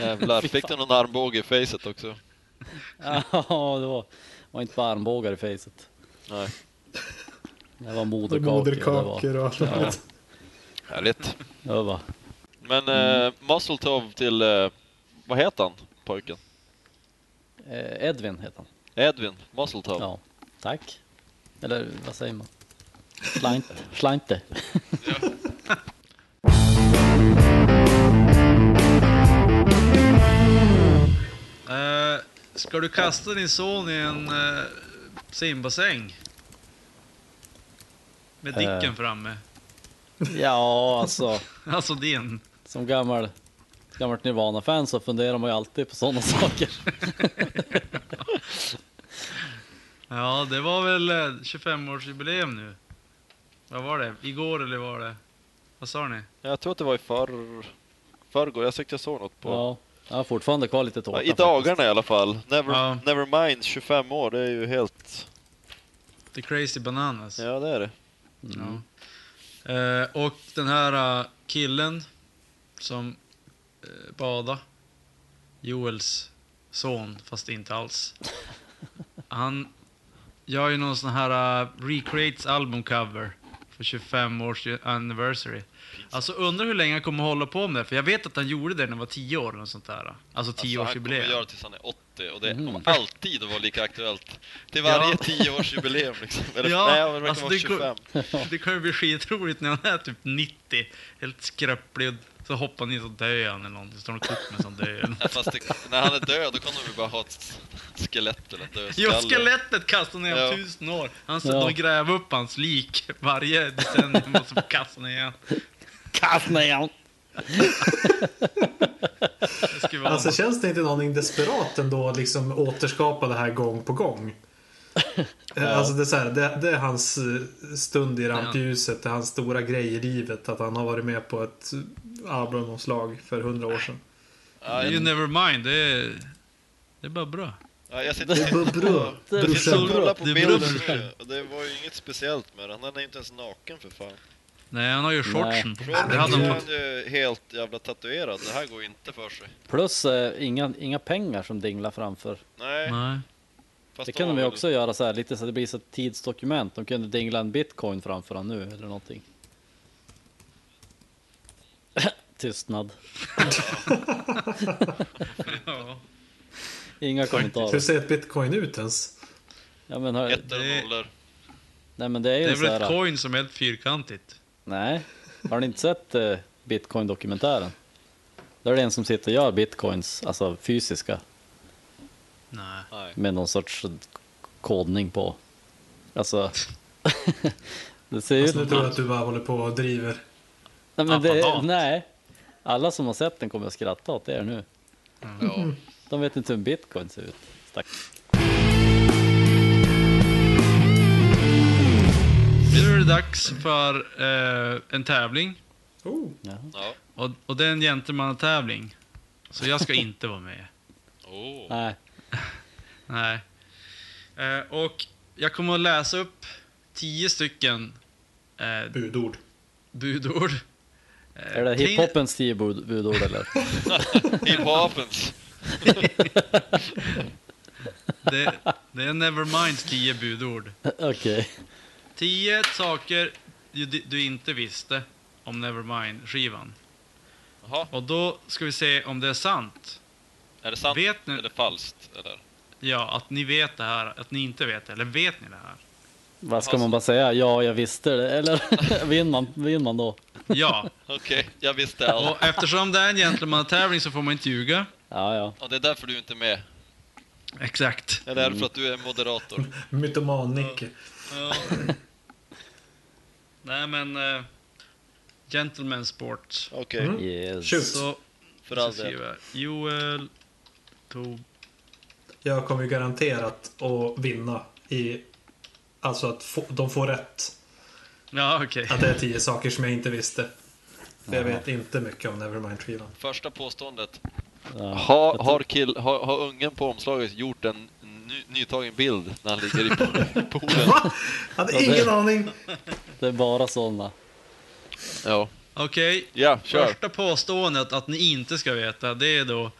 Speaker 4: Jävlar. Fick du någon armbåge i facet också?
Speaker 2: Ja, det var, var inte bara armbågar i facet.
Speaker 4: Nej.
Speaker 2: Det var moderkakor.
Speaker 3: Moderkakor och allt
Speaker 2: Det var, ja,
Speaker 3: annat.
Speaker 4: Härligt.
Speaker 2: det var.
Speaker 4: Men eh, Musseltov till, eh, vad heter han pojken?
Speaker 2: Eh, Edvin heter han.
Speaker 4: Edvin Musseltov.
Speaker 2: Ja, tack. Eller vad säger man? Schleinte. Schleinte.
Speaker 1: Eh, ska du kasta din son i en eh, simbassäng? Med dicken
Speaker 2: Eh.
Speaker 1: framme.
Speaker 2: Ja, alltså.
Speaker 1: Alltså din.
Speaker 2: Som gammal, gammalt Nirvana-fan så funderar man ju alltid på sådana saker.
Speaker 1: Ja, det var väl eh, 25-årsjubileum nu. Vad var det? Igår eller var det? Vad sa ni?
Speaker 4: Jag tror att det var i förr... förrgår, jag tyckte jag såg något på...
Speaker 2: Ja, jag har fortfarande kvar lite tårta.
Speaker 4: Ja, I
Speaker 2: faktiskt.
Speaker 4: dagarna i alla fall. Never,
Speaker 1: Ja.
Speaker 4: Nevermind, 25 år, det är ju helt...
Speaker 1: The Crazy Bananas.
Speaker 4: Ja, det är det.
Speaker 1: Ja. Eh, och den här eh, killen som eh, badade, Joels son, fast inte alls. Han gör ju någon sån här eh, Recreates albumcover för 25 års anniversary. Alltså undrar hur länge han kommer hålla på med det, för jag vet att han gjorde det när han var 10 år eller sånt där. Alltså 10
Speaker 4: alltså, Han kommer
Speaker 1: årsjubileum.
Speaker 4: göra det tills han är 80 och det
Speaker 2: Mm.
Speaker 4: kommer alltid att vara lika aktuellt. Till varje
Speaker 1: Ja.
Speaker 4: 10-årsjubileum liksom. Eller
Speaker 1: Ja,
Speaker 4: nej, det verkar
Speaker 1: alltså,
Speaker 4: vara
Speaker 1: det går-
Speaker 4: 25.
Speaker 1: Det kan ju bli skitroligt när han är typ 90, helt skröplig, och så hoppar han in och dör han eller någonting, så tar de kort med så han dör.
Speaker 4: Ja, fast det, när han är död, då kommer vi bara ha ett skelett eller en dödskalle.
Speaker 1: Jo, skelettet kastar ner
Speaker 4: Ja.
Speaker 1: ja. tusen år. Han
Speaker 2: Ja.
Speaker 1: ja. De gräver upp hans lik varje decennium och så kastar ner igen.
Speaker 2: Kast ner honom.
Speaker 1: Det skulle vara
Speaker 3: Alltså
Speaker 1: något.
Speaker 3: känns det inte någonting desperat ändå att liksom återskapa det här gång på gång? Alltså det är, så här, det, det är hans eh, stund i rampljuset, det är hans stora grej i livet att han har varit med på ett eh, albumomslag för hundra år sedan.
Speaker 4: Ja,
Speaker 1: You
Speaker 4: jag,
Speaker 1: never mind, det är, det är bara bra.
Speaker 4: ja, jag sitter
Speaker 2: Det
Speaker 4: och
Speaker 3: Det är bara bra.
Speaker 2: Det
Speaker 4: tittar-
Speaker 2: är
Speaker 4: jag sitter och
Speaker 2: bra.
Speaker 4: kollar på
Speaker 1: Det är
Speaker 4: bilden
Speaker 1: bra.
Speaker 4: nu och det var ju inget speciellt med den. Han är ju inte ens naken för fan.
Speaker 1: Nej, han har ju shortsen på.
Speaker 4: Från
Speaker 1: Det hade
Speaker 4: är
Speaker 1: han
Speaker 4: han
Speaker 1: fått.
Speaker 4: ju helt jävla tatuerad. Det här går ju inte för sig.
Speaker 2: Plus eh, inga, inga pengar som dinglar framför.
Speaker 4: Nej,
Speaker 1: Nej.
Speaker 4: fast
Speaker 2: Det
Speaker 4: då
Speaker 2: kan de ju
Speaker 4: var
Speaker 2: också göra så här lite så att det blir så ett tidsdokument. De kunde dingla en bitcoin framför han nu eller någonting. Tystnad.
Speaker 1: Ja.
Speaker 2: Inga
Speaker 3: Hur
Speaker 2: kommentarer.
Speaker 3: ser ett bitcoin ut ens?
Speaker 2: Ja, men, hör,
Speaker 4: Ettor och
Speaker 1: Det-
Speaker 4: nollor.
Speaker 2: nej, men det är ju
Speaker 1: Det är
Speaker 2: så
Speaker 1: väl ett
Speaker 2: här. eh,
Speaker 1: coin som är helt fyrkantigt.
Speaker 2: Nej, har ni inte sett eh, bitcoin-dokumentären? Där är det en som sitter och gör bitcoins, alltså fysiska,
Speaker 1: Nej.
Speaker 4: Nej.
Speaker 2: med någon sorts kodning på. Alltså, det ser ju
Speaker 3: Alltså, nu tror jag att du bara håller på och driver.
Speaker 2: Nej, men det,
Speaker 1: Apparat.
Speaker 2: nej, alla som har sett den kommer att skratta åt det nu.
Speaker 4: Ja.
Speaker 2: De vet inte hur en bitcoin ser ut. Stack.
Speaker 1: Nu är det dags för eh, en tävling.
Speaker 3: Oh,
Speaker 4: ja.
Speaker 1: Och, och det är en gentlemannatävling. Så jag ska inte vara med.
Speaker 4: Oh.
Speaker 2: Nej,
Speaker 1: Nej. Eh, och jag kommer att läsa upp tio stycken eh,
Speaker 3: budord.
Speaker 1: budord. Eh,
Speaker 2: är det
Speaker 1: kring-
Speaker 2: hiphopens tio bud- budord eller?
Speaker 4: Hiphopens.
Speaker 1: Det, det är Neverminds tio budord.
Speaker 2: Okej.
Speaker 1: Tio saker du, du inte visste om Nevermind-skivan.
Speaker 4: Jaha,
Speaker 1: Och då ska vi se om det är sant.
Speaker 4: är det sant
Speaker 1: Vet ni-
Speaker 4: eller falskt? Eller?
Speaker 1: Ja, att ni vet det här, att ni inte vet det. Eller vet ni det här?
Speaker 2: Vad ska man bara säga? Ja, jag visste det. Eller vinner man, vinner man då?
Speaker 1: Ja.
Speaker 4: Okej, jag visste allt.
Speaker 1: Och eftersom det är en gentlemannatävling så får man inte ljuga.
Speaker 2: Ja, ja.
Speaker 4: Och det är därför du inte är med.
Speaker 1: Exakt.
Speaker 4: Eller är
Speaker 2: Mm.
Speaker 4: det för att du är moderator?
Speaker 3: Mytoman-Nicke.
Speaker 1: Ja. Nej men... Eh, gentleman sport.
Speaker 4: Okej,
Speaker 3: Mm.
Speaker 2: Yes.
Speaker 3: Shoot.
Speaker 1: Så,
Speaker 4: för
Speaker 1: så
Speaker 4: all del.
Speaker 1: skriver jag. Joel Tob...
Speaker 3: Jag kommer ju garanterat att vinna i... Alltså att få, de får rätt.
Speaker 1: Ja okej.
Speaker 3: Att det är tio saker som jag inte visste. För jag vet inte mycket om Nevermind-skivan.
Speaker 4: Första påståendet.
Speaker 2: Ja.
Speaker 4: Ha, har, kill, har, har ungen på omslaget gjort en ny, nytagen bild när han ligger i po- i poolen?
Speaker 3: Va? Jag hade ingen aning.
Speaker 2: Det är bara sådana.
Speaker 4: Ja,
Speaker 1: Okej.
Speaker 4: ja kör.
Speaker 1: Första påståendet att ni inte ska veta det är då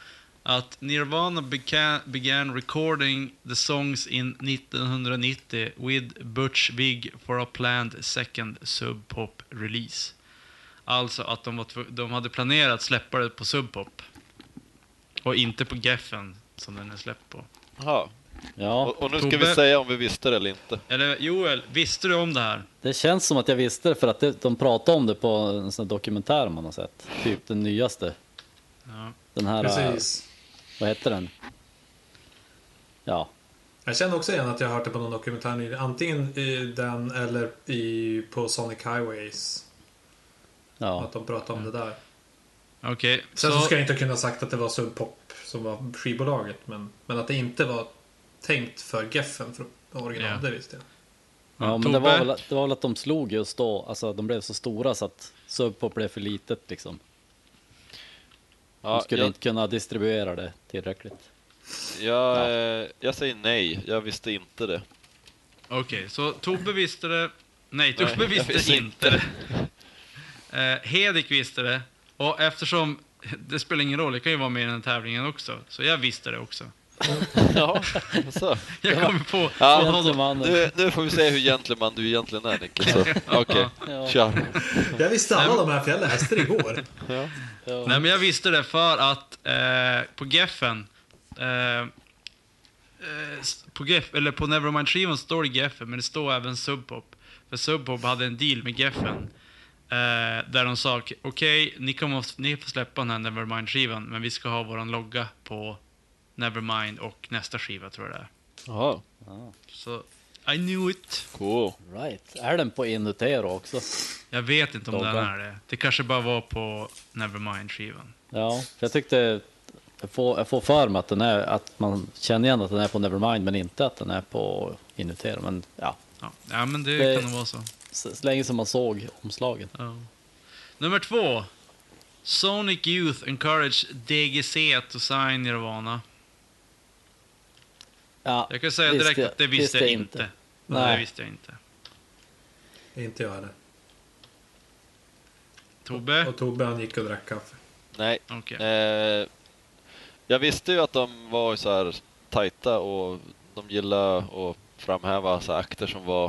Speaker 1: att Nirvana began, began recording the songs in 1990 with Butch Vig for a planned second Sub Pop release. Alltså att de, var tv- de hade planerat släppa det på Sub Pop. Och inte på Geffen som den är släppt på.
Speaker 4: Jaha.
Speaker 2: Ja,
Speaker 4: Och, och nu ska vi
Speaker 1: Tobbe.
Speaker 4: säga om vi visste det eller inte.
Speaker 1: Eller Joel, visste du om det här?
Speaker 2: det känns som att jag visste det för att det, de pratade om det på en sån här dokumentär man har sett. Typ den nyaste.
Speaker 1: Ja.
Speaker 2: Den här, eh,
Speaker 3: Precis.
Speaker 2: vad heter den? Ja,
Speaker 3: Jag känner också igen att jag har hört det på någon dokumentär nyligen. Antingen i den eller i, på Sonic Highways.
Speaker 2: Ja.
Speaker 3: Att de pratar om det där.
Speaker 1: Okej,
Speaker 3: Sen så...
Speaker 1: så,
Speaker 3: ska jag inte kunna ha sagt att det var Sub Pop som var skivbolaget. Men, men att det inte var tänkt för Geffen från original,
Speaker 1: Ja.
Speaker 3: det visste jag.
Speaker 2: Ja, men
Speaker 1: Tobbe?
Speaker 2: det var, väl, det var väl att de slog just då, alltså de blev så stora så att Sub Pop blev för litet liksom. De
Speaker 4: Ja,
Speaker 2: skulle
Speaker 4: jag,
Speaker 2: inte kunna distribuera det tillräckligt.
Speaker 4: jag,
Speaker 2: Ja.
Speaker 4: eh, jag säger nej, jag visste inte det.
Speaker 1: okej, så Tobbe visste det. Nej, Tobbe
Speaker 4: Nej, jag
Speaker 1: visste
Speaker 4: visste
Speaker 1: inte det. Eh, Hedik visste det. Och eftersom det spelar ingen roll, jag kan ju vara med i den här tävlingen också. Så jag visste det också.
Speaker 4: ja, så.
Speaker 1: Jag kommer på...
Speaker 4: Ja,
Speaker 2: Gentlemannen.
Speaker 4: Nu, nu får vi se hur gentleman du egentligen är Nicke. så, Okej,
Speaker 2: Ja.
Speaker 4: kör.
Speaker 3: Jag visste alla de här för jag läste det igår.
Speaker 2: Ja.
Speaker 1: Nej, men jag visste det för att eh, på Geffen... Eh, eh, s- på, Geff, eller på Nevermind-skivan står det Geffen, men det står även Sub Pop. För Sub Pop hade en deal med Geffen. Eh, där de sa, okej, ni, kommer att- ni får släppa den här Nevermind-skivan, men vi ska ha våran logga på Nevermind och nästa skiva tror jag det är.
Speaker 4: Jaha,
Speaker 1: Så, I knew it.
Speaker 4: cool.
Speaker 2: Right. Är den på Inutero också?
Speaker 1: Jag vet inte om
Speaker 2: Loggan.
Speaker 1: den är det. Det kanske bara var på Nevermind-skivan.
Speaker 2: Ja, för jag tyckte, jag får, jag får för mig att, den är, att man känner igen att den är på Nevermind men inte att den är på Inutero. Men ja,
Speaker 1: Ja. ja, men det,
Speaker 2: Det-
Speaker 1: kan nog vara så.
Speaker 2: så, så länge som man såg omslagen.
Speaker 1: Ja. Nummer två. Sonic Youth encourage DGC to sign Nirvana.
Speaker 2: Ja,
Speaker 1: Jag kan säga
Speaker 2: Visste
Speaker 1: direkt
Speaker 2: jag-
Speaker 1: att det visste, jag inte. Nej.
Speaker 2: Nej.
Speaker 1: Det visste jag inte.
Speaker 3: Inte jag heller.
Speaker 1: Tobbe?
Speaker 3: Och Tobbe han gick och drack kaffe.
Speaker 4: Nej,
Speaker 1: Okej.
Speaker 4: eh, jag visste ju att de var så här tajta och de gillade att framhäva så här akter som var,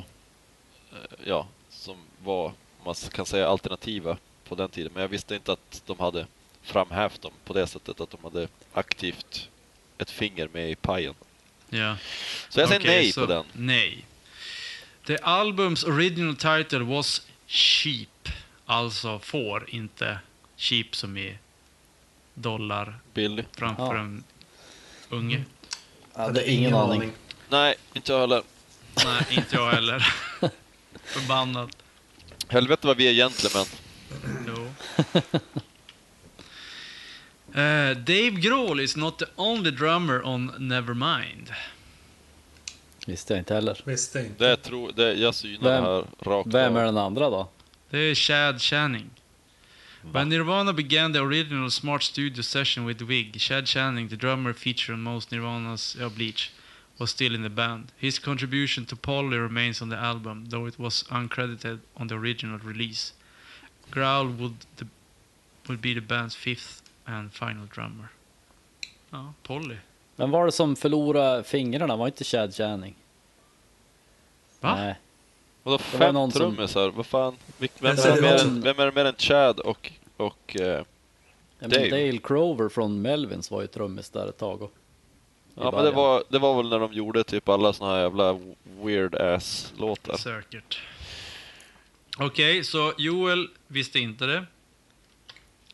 Speaker 4: eh, ja, som var, om man kan säga alternativa på den tiden. Men jag visste inte att de hade framhävt dem på det sättet, att de hade aktivt ett finger med i pajen.
Speaker 1: Ja.
Speaker 4: Så jag säger
Speaker 1: Okej,
Speaker 4: nej
Speaker 1: så
Speaker 4: på den.
Speaker 1: Nej. The albums original title was Sheep. Alltså får, inte sheep som är dollar
Speaker 4: Billy.
Speaker 1: framför
Speaker 2: Ja.
Speaker 1: en unge.
Speaker 2: Jag hade ingen aning.
Speaker 4: Nej, inte jag heller.
Speaker 1: Nej, inte jag heller. Förbannat.
Speaker 4: Helvete vad vi är gentlemän.
Speaker 1: No. Uh, Dave Grohl is not the only drummer on Nevermind.
Speaker 2: Visste jag inte heller.
Speaker 3: Visste inte.
Speaker 4: Det tror det, jag synar
Speaker 2: Vem-
Speaker 4: det här rakt
Speaker 2: Vem
Speaker 4: av.
Speaker 2: är den andra då?
Speaker 1: Det är Chad Channing. When Nirvana began the original Smart Studio session with Wig, Chad Channing, the drummer featured on most Nirvana's ja, Bleach, was still in the band. His contribution to Polly remains on the album, though it was uncredited on the original release. Growl would, the, would be the band's fifth and final drummer. Ja, Polly.
Speaker 2: Vem var det som förlorade fingrarna? Var inte Chad Channing?
Speaker 1: Va?
Speaker 2: Nej.
Speaker 4: Vadå
Speaker 2: var
Speaker 4: fem
Speaker 2: någon som-
Speaker 4: trummisar? Vad fan? Vil- Vem
Speaker 3: Men
Speaker 4: är,
Speaker 3: så
Speaker 4: det
Speaker 3: det
Speaker 4: mer
Speaker 3: var
Speaker 4: än,
Speaker 2: någon-
Speaker 4: vem är det mer än Chad och, och eh,
Speaker 2: Ja, men
Speaker 4: Dave.
Speaker 2: Dale Crover från Melvins var ju trummis där ett tag. Och,
Speaker 4: Ja men det
Speaker 2: början.
Speaker 4: var, det var väl när de gjorde typ alla såna här jävla weird ass låtar.
Speaker 1: Säkert. Okej, så Joel visste inte det.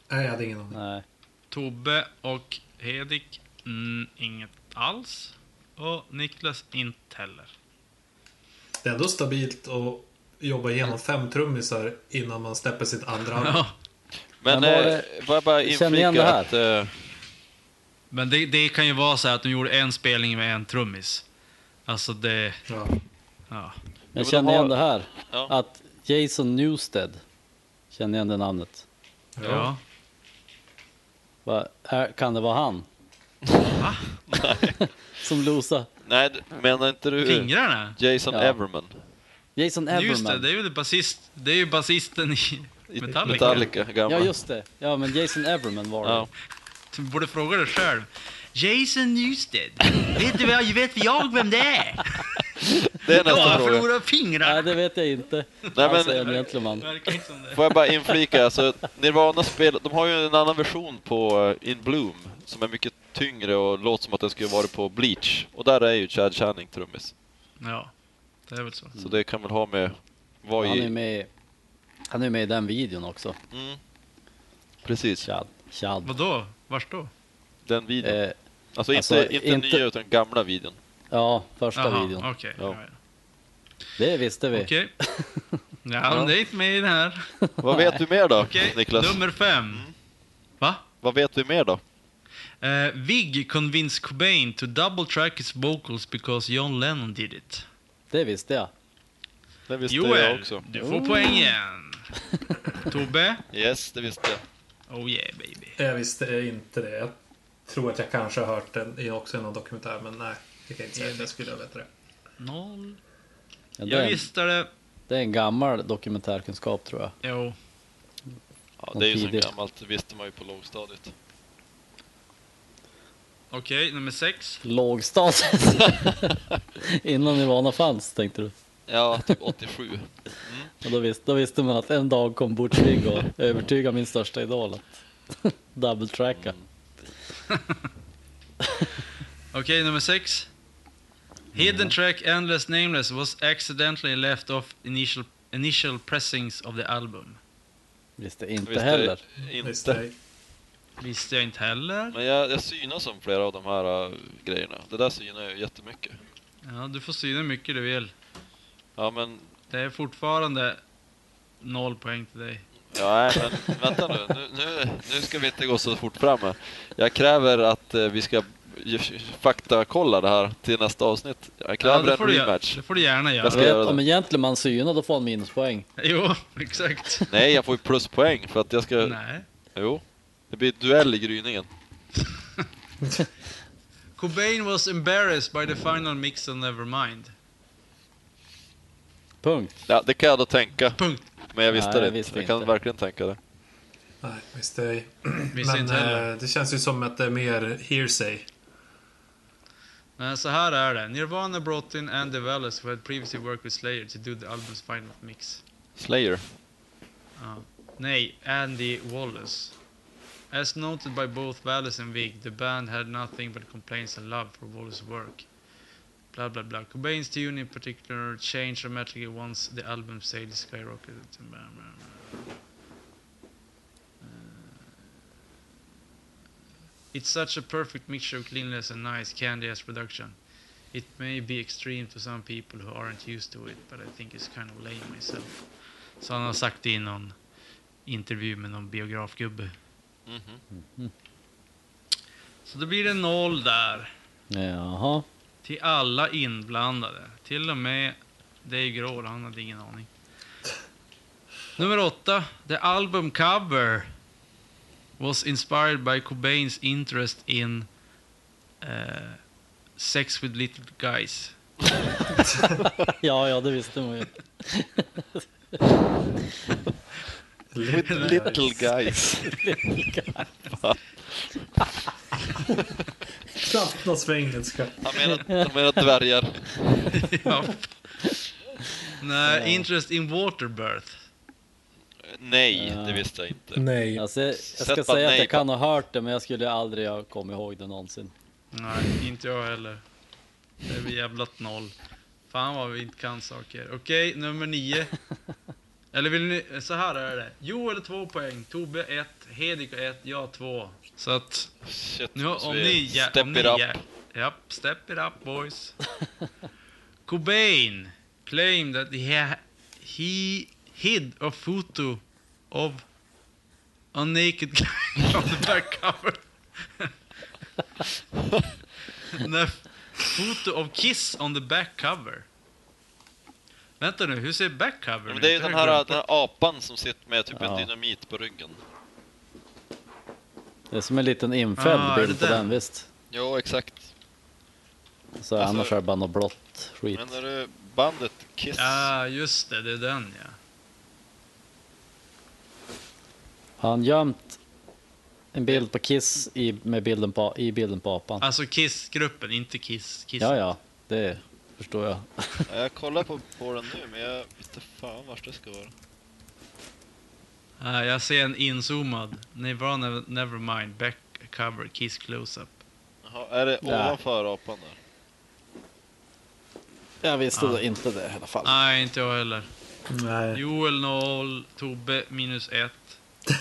Speaker 3: Nej, jag hade ingen aning.
Speaker 2: nej.
Speaker 1: Tobbe och Hedik, mm, inget alls. Och Niklas, inte heller.
Speaker 3: Det är ändå stabilt att jobba igenom fem trummisar innan man släpper sitt andra album.
Speaker 1: Ja,
Speaker 2: Men
Speaker 4: Men,
Speaker 2: var
Speaker 4: eh,
Speaker 2: det-
Speaker 4: får jag bara
Speaker 2: Jag känner igen det
Speaker 4: inflika
Speaker 2: här.
Speaker 4: att eh,
Speaker 1: men det, det kan ju vara så här att de gjorde en spelning med en trummis. Alltså det...
Speaker 3: Ja.
Speaker 1: Ja.
Speaker 4: men
Speaker 2: Jag
Speaker 4: de
Speaker 2: känner
Speaker 4: har-
Speaker 2: igen det här.
Speaker 4: Ja.
Speaker 2: Att Jason Newsted. Känner igen det namnet.
Speaker 1: ja.
Speaker 2: Va, är, kan det vara han? Som losa.
Speaker 4: nej d- menar inte du
Speaker 1: Fingrarna?
Speaker 4: Jason
Speaker 2: Ja.
Speaker 4: Everman?
Speaker 2: Jason
Speaker 1: Just det,
Speaker 2: Everman.
Speaker 1: det är ju det basist, det är ju basisten i
Speaker 4: I
Speaker 1: Metallica.
Speaker 4: Metallica gammal.
Speaker 2: Ja just det. Ja men Jason Everman var det.
Speaker 4: Ja.
Speaker 1: Du borde fråga dig själv. Jason Newsted, vet du vad, vet jag vem det är?
Speaker 4: Det är nästa
Speaker 1: Jag
Speaker 4: fråga.
Speaker 1: förlorar
Speaker 2: Nej
Speaker 1: fingrar.
Speaker 2: det vet jag inte.
Speaker 4: Nej,
Speaker 2: Nej,
Speaker 4: men-
Speaker 2: men... en gentleman.
Speaker 1: Verkar inte som det.
Speaker 4: Får jag bara inflika, alltså Nirvana spel, de har ju en annan version på eh, In Bloom som är mycket tyngre och låter som att den skulle varit på Bleach. Och där är ju Chad Channing trummis.
Speaker 1: Ja, det är väl så.
Speaker 4: Så det kan väl ha med vad
Speaker 2: Han är
Speaker 4: i...
Speaker 2: med, han är med i den videon också.
Speaker 4: Mm. Precis,
Speaker 2: Chad. Chad.
Speaker 1: Vadå? Vars då?
Speaker 4: den videon.
Speaker 2: Eh,
Speaker 4: alltså inte,
Speaker 2: alltså,
Speaker 4: inte,
Speaker 2: inte-
Speaker 4: nya utan gamla videon.
Speaker 2: ja första
Speaker 1: Jaha,
Speaker 2: videon.
Speaker 1: Okej.
Speaker 4: Ja.
Speaker 1: ja, ja.
Speaker 2: Det visste vi.
Speaker 1: Okej. Ja, men det är inte med i den här.
Speaker 4: Vad vet vi mer då,
Speaker 1: Okej,
Speaker 4: Niklas? Mm.
Speaker 1: nummer fem. Va?
Speaker 4: Vad vet vi mer då?
Speaker 1: Eh, Vig convinced Cobain to double track his vocals because John Lennon did it.
Speaker 2: Det visste jag.
Speaker 4: Det visste jag
Speaker 1: Joel,
Speaker 4: också. Mm.
Speaker 1: du får poängen. Tobbe?
Speaker 4: Yes, det visste jag.
Speaker 1: Oh yeah baby.
Speaker 3: Jag visste inte det. Jag tror att jag kanske har hört den i också i någon dokumentär, men nej. Det kan jag inte säga att jag skulle veta det.
Speaker 1: Noll.
Speaker 2: Ja, det,
Speaker 1: Jag
Speaker 2: är en,
Speaker 1: visste det.
Speaker 2: det är en gammal dokumentärkunskap tror jag.
Speaker 1: Jo.
Speaker 4: Ja,
Speaker 2: Någon
Speaker 4: det är ju så
Speaker 2: tidig.
Speaker 4: gammalt, det visste man ju på lågstadiet.
Speaker 1: Okej, nummer sex.
Speaker 2: Lågstatus. Innan Nirvana fanns tänkte du.
Speaker 4: Ja, typ 87.
Speaker 2: Och då, visste, då visste man att en dag kom Butch Vig och övertygade min största idol att double-tracka.
Speaker 1: Okej, nummer sex.
Speaker 4: Mm.
Speaker 1: Hidden track Endless Nameless was accidentally left off initial, initial pressings of the album.
Speaker 2: Visste inte
Speaker 4: Visste
Speaker 2: heller.
Speaker 3: Visste
Speaker 4: Inte.
Speaker 3: jag.
Speaker 1: Visste jag inte heller.
Speaker 4: Men jag, jag synas om flera av de här äh, grejerna. Det där synar jag ju jättemycket.
Speaker 1: Ja, du får syna hur mycket du vill.
Speaker 4: Ja, men...
Speaker 1: Det är fortfarande noll poäng till dig.
Speaker 4: Ja, nej, men vänta nu. Nu, nu. nu ska vi inte gå så fort fram här. Jag kräver att eh, vi ska ju- faktakolla det här till nästa avsnitt. Jag
Speaker 1: Ja,
Speaker 4: kräver
Speaker 1: det, får
Speaker 4: en
Speaker 1: du, gö-
Speaker 4: rematch.
Speaker 1: det får du gärna
Speaker 4: Jag
Speaker 1: göra.
Speaker 4: ska göra
Speaker 2: Vet,
Speaker 4: det.
Speaker 2: om en gentleman synar då får han minuspoäng.
Speaker 1: Jo, exakt.
Speaker 4: Nej, jag får ju pluspoäng för att jag ska...
Speaker 1: Nej.
Speaker 4: Jo. Det blir duell i gryningen.
Speaker 1: Cobain was embarrassed by the final mix of Nevermind.
Speaker 2: Punkt.
Speaker 4: Ja, det kan jag då tänka.
Speaker 1: Punkt.
Speaker 4: Men jag visste
Speaker 2: Nej,
Speaker 4: det
Speaker 2: jag
Speaker 4: inte.
Speaker 2: visste
Speaker 4: jag kan
Speaker 2: inte.
Speaker 4: verkligen tänka det.
Speaker 3: Nej, visste jag.
Speaker 1: Visste
Speaker 3: Men
Speaker 1: inte heller.
Speaker 3: eh, det känns ju som att det är mer hearsay.
Speaker 1: Nej, så här är det. Nirvana brought in Andy Wallace who had previously worked with Slayer to do the album's final mix.
Speaker 4: Slayer.
Speaker 1: Nej, Andy Wallace. As noted by both Wallace and Vig, the band had nothing but complaints and love for Wallace's work. Blah blah blah. Cobain's tune in particular changed dramatically once the album sales skyrocketed. Blah, blah, blah. Uh, It's such a perfect mixture of cleanliness and nice candy as production. It may be extreme to some people who aren't used to it, but I think it's kind of lame myself. Så han har sagt det i någon intervju med någon biografgubbe.
Speaker 4: Mhm.
Speaker 1: Så då blir det noll där.
Speaker 2: Jaha.
Speaker 1: Till alla inblandade. Till och med Dave Grohl, han hade ingen aning. Nummer åtta. The album cover was inspired by Cobains interest in eh, sex with little guys.
Speaker 2: Ja, ja, det visste man ju.
Speaker 4: With little guys.
Speaker 3: Knappt något för engelska.
Speaker 4: Han menar, han menar dvärgar.
Speaker 1: Ja. Nej, interest in water birth.
Speaker 4: Nej,
Speaker 2: Ja.
Speaker 4: det visste jag inte.
Speaker 3: Nej.
Speaker 2: Alltså, jag jag ska
Speaker 4: Sätt bara
Speaker 2: säga att
Speaker 4: nej
Speaker 2: jag
Speaker 4: på-
Speaker 2: kan ha hört det, men jag skulle aldrig ha kommit ihåg det någonsin.
Speaker 1: Nej, inte jag heller. Det är vi jävlat noll. Fan vad vi inte kan saker. Okej, nummer nio. Eller vill ni, så här är det. Joel två poäng, Tobbe ett, Hedik ett, jag två. Så att,
Speaker 4: Shit,
Speaker 1: nu har-
Speaker 4: så
Speaker 1: om
Speaker 4: vi-
Speaker 1: ni... Ja,
Speaker 4: Step
Speaker 1: om
Speaker 4: it
Speaker 1: ni,
Speaker 4: up.
Speaker 1: Ja, japp, step it up boys. Cobain claimed that he, ha, he hid a photo of a naked guy on the back cover. Nej, photo of Kiss on the back cover. Vänta nu, hur ser back cover
Speaker 4: Men
Speaker 1: ut?
Speaker 4: det är ju den
Speaker 1: har
Speaker 4: här,
Speaker 1: jag glömt
Speaker 4: den här apan som sitter med typ en
Speaker 2: Ja.
Speaker 4: dynamit på ryggen.
Speaker 2: Det är som en liten infälld
Speaker 1: Ah, är det
Speaker 2: bild på
Speaker 1: den?
Speaker 2: den, visst.
Speaker 4: Jo, exakt.
Speaker 2: Så annars är det bara något blått skit.
Speaker 4: Alltså- Men är det bandet Kiss?
Speaker 1: Ja, just det, det är den ja.
Speaker 2: Har han gömt en bild på Kiss i, med bilden på, i bilden på
Speaker 4: Ah,
Speaker 2: apan?
Speaker 1: Alltså Kiss-gruppen, inte Kiss. Kiss.
Speaker 2: Ja, ja, det förstår jag.
Speaker 4: Ja, Jag kollar på, på den nu, men jag inte fan vart det ska vara.
Speaker 1: Ah, jag ser en inzoomad. Nirvana Nevermind, back cover, Kiss close-up.
Speaker 4: Jaha, är det
Speaker 2: Ja.
Speaker 4: ovanför apan där?
Speaker 2: Jag visste
Speaker 1: Ja.
Speaker 4: Ah.
Speaker 2: då inte det i alla fall.
Speaker 1: Nej, inte jag heller.
Speaker 3: Nej.
Speaker 1: Joel 0, Tobbe minus 1,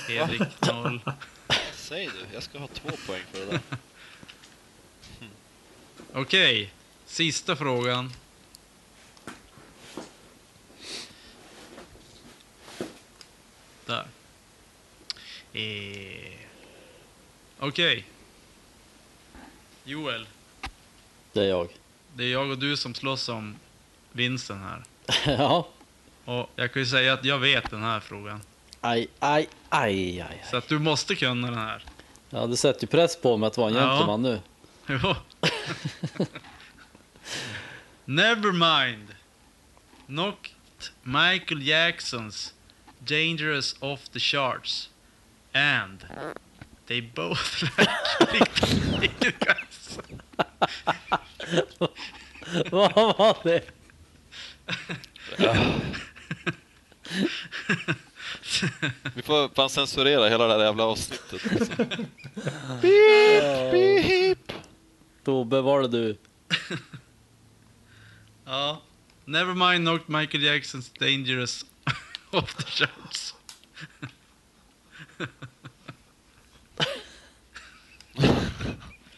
Speaker 1: Erik 0.
Speaker 4: Säg du, jag ska ha två poäng för det där.
Speaker 1: Okej, sista frågan. Där. Eh. Okej. Joel,
Speaker 2: Det är jag.
Speaker 1: det är jag och du som slåss om vinsten här.
Speaker 2: ja.
Speaker 1: Och jag kan ju säga att jag vet den här frågan.
Speaker 2: Aj, aj, aj, aj.
Speaker 1: Så att du måste kunna den här.
Speaker 2: Ja, du sätter ju press på mig att vara en
Speaker 1: Ja.
Speaker 2: gentleman nu.
Speaker 1: Jo. Never mind. Knocked Michael Jackson's Dangerous off the charts. And they both like Little Guys.
Speaker 2: Vad var det?
Speaker 4: Vi får fan censurera hela det här jävla avsnittet. Alltså.
Speaker 2: Tobbe, var det du?
Speaker 1: Ja. Never mind knocked Michael Jackson's Dangerous off the charts.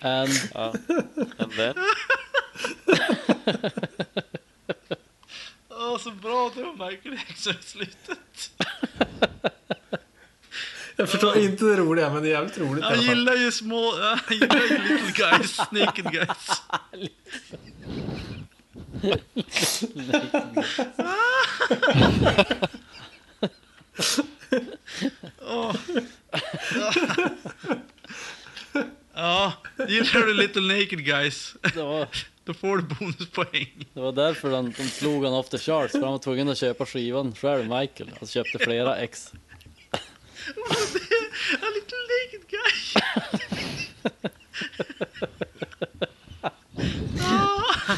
Speaker 2: And,
Speaker 4: And then,
Speaker 1: Åh, så bra det var Michael Jackson i slutet.
Speaker 3: Jag förstår inte det roliga, men det är jävligt roligt i
Speaker 1: Jag
Speaker 3: alla fall.
Speaker 1: gillar ju små... Jag gillar ju Little Guys, Naked Guys. Åh. Ja, gillar du Little Naked Guys,
Speaker 2: det, var,
Speaker 1: då får du bonuspoäng.
Speaker 2: det var därför de, de slog han off the charts, för han var tvungen att köpa skivan själv, Michael. Han köpte flera ex.
Speaker 1: A Little Naked Guy. Ah.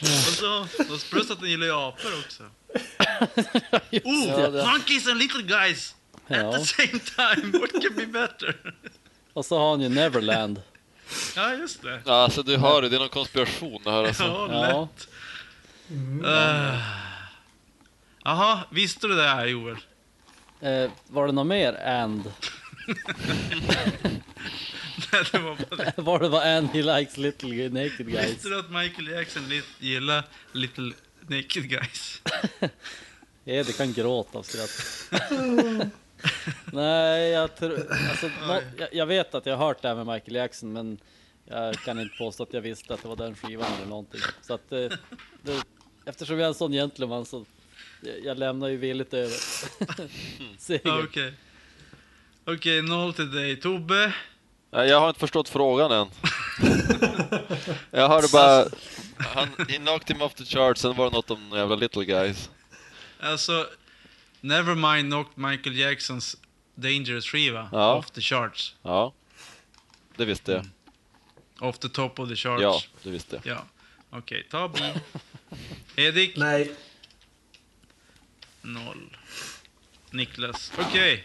Speaker 1: Och så, och så plus att den gillar ju apor också. Oh,
Speaker 2: Ja, det-
Speaker 1: monkeys and little guys at
Speaker 2: Ja.
Speaker 1: the same time, what can be better?
Speaker 2: Och så har han ju Neverland.
Speaker 1: Ja, just det.
Speaker 4: Ja, alltså du hör ju, det är någon konspiration det här alltså.
Speaker 1: Ja,
Speaker 2: Ja.
Speaker 1: lätt. Eh. Jaha, visste du det här Joel?
Speaker 2: Eh, var det något mer? And?
Speaker 1: Nej, det var bara det.
Speaker 2: Var det vad And he likes little naked guys?
Speaker 1: Visste du att Michael Jackson lit- gillar Little Naked Guys?
Speaker 2: Edi kan gråta av skratt. Nej, jag tror... Alltså, nå, jag, jag vet att jag har hört det här med Michael Jackson, men jag kan inte påstå att jag visste att det var den skivan eller någonting. Så att eh, det, Eftersom jag är en sån gentleman så jag, jag lämnar ju villigt över.
Speaker 1: Ja,
Speaker 2: Seger.
Speaker 1: Ah, Okej. Okej, noll till dig. Tobbe?
Speaker 4: Nej, jag har inte förstått frågan än. Jag hörde bara... Han, he knocked him off the charts, sen var det något om jävla little guys.
Speaker 1: Alltså, Nevermind knocked Michael Jacksons Dangerous skiva
Speaker 4: Ja.
Speaker 1: off the charts.
Speaker 4: Ja, det visste jag.
Speaker 1: Off the top of the charts.
Speaker 4: Ja, det visste jag.
Speaker 1: Ja. Okej, ta B. Edik?
Speaker 3: Nej,
Speaker 1: Noll. Niklas. Okej.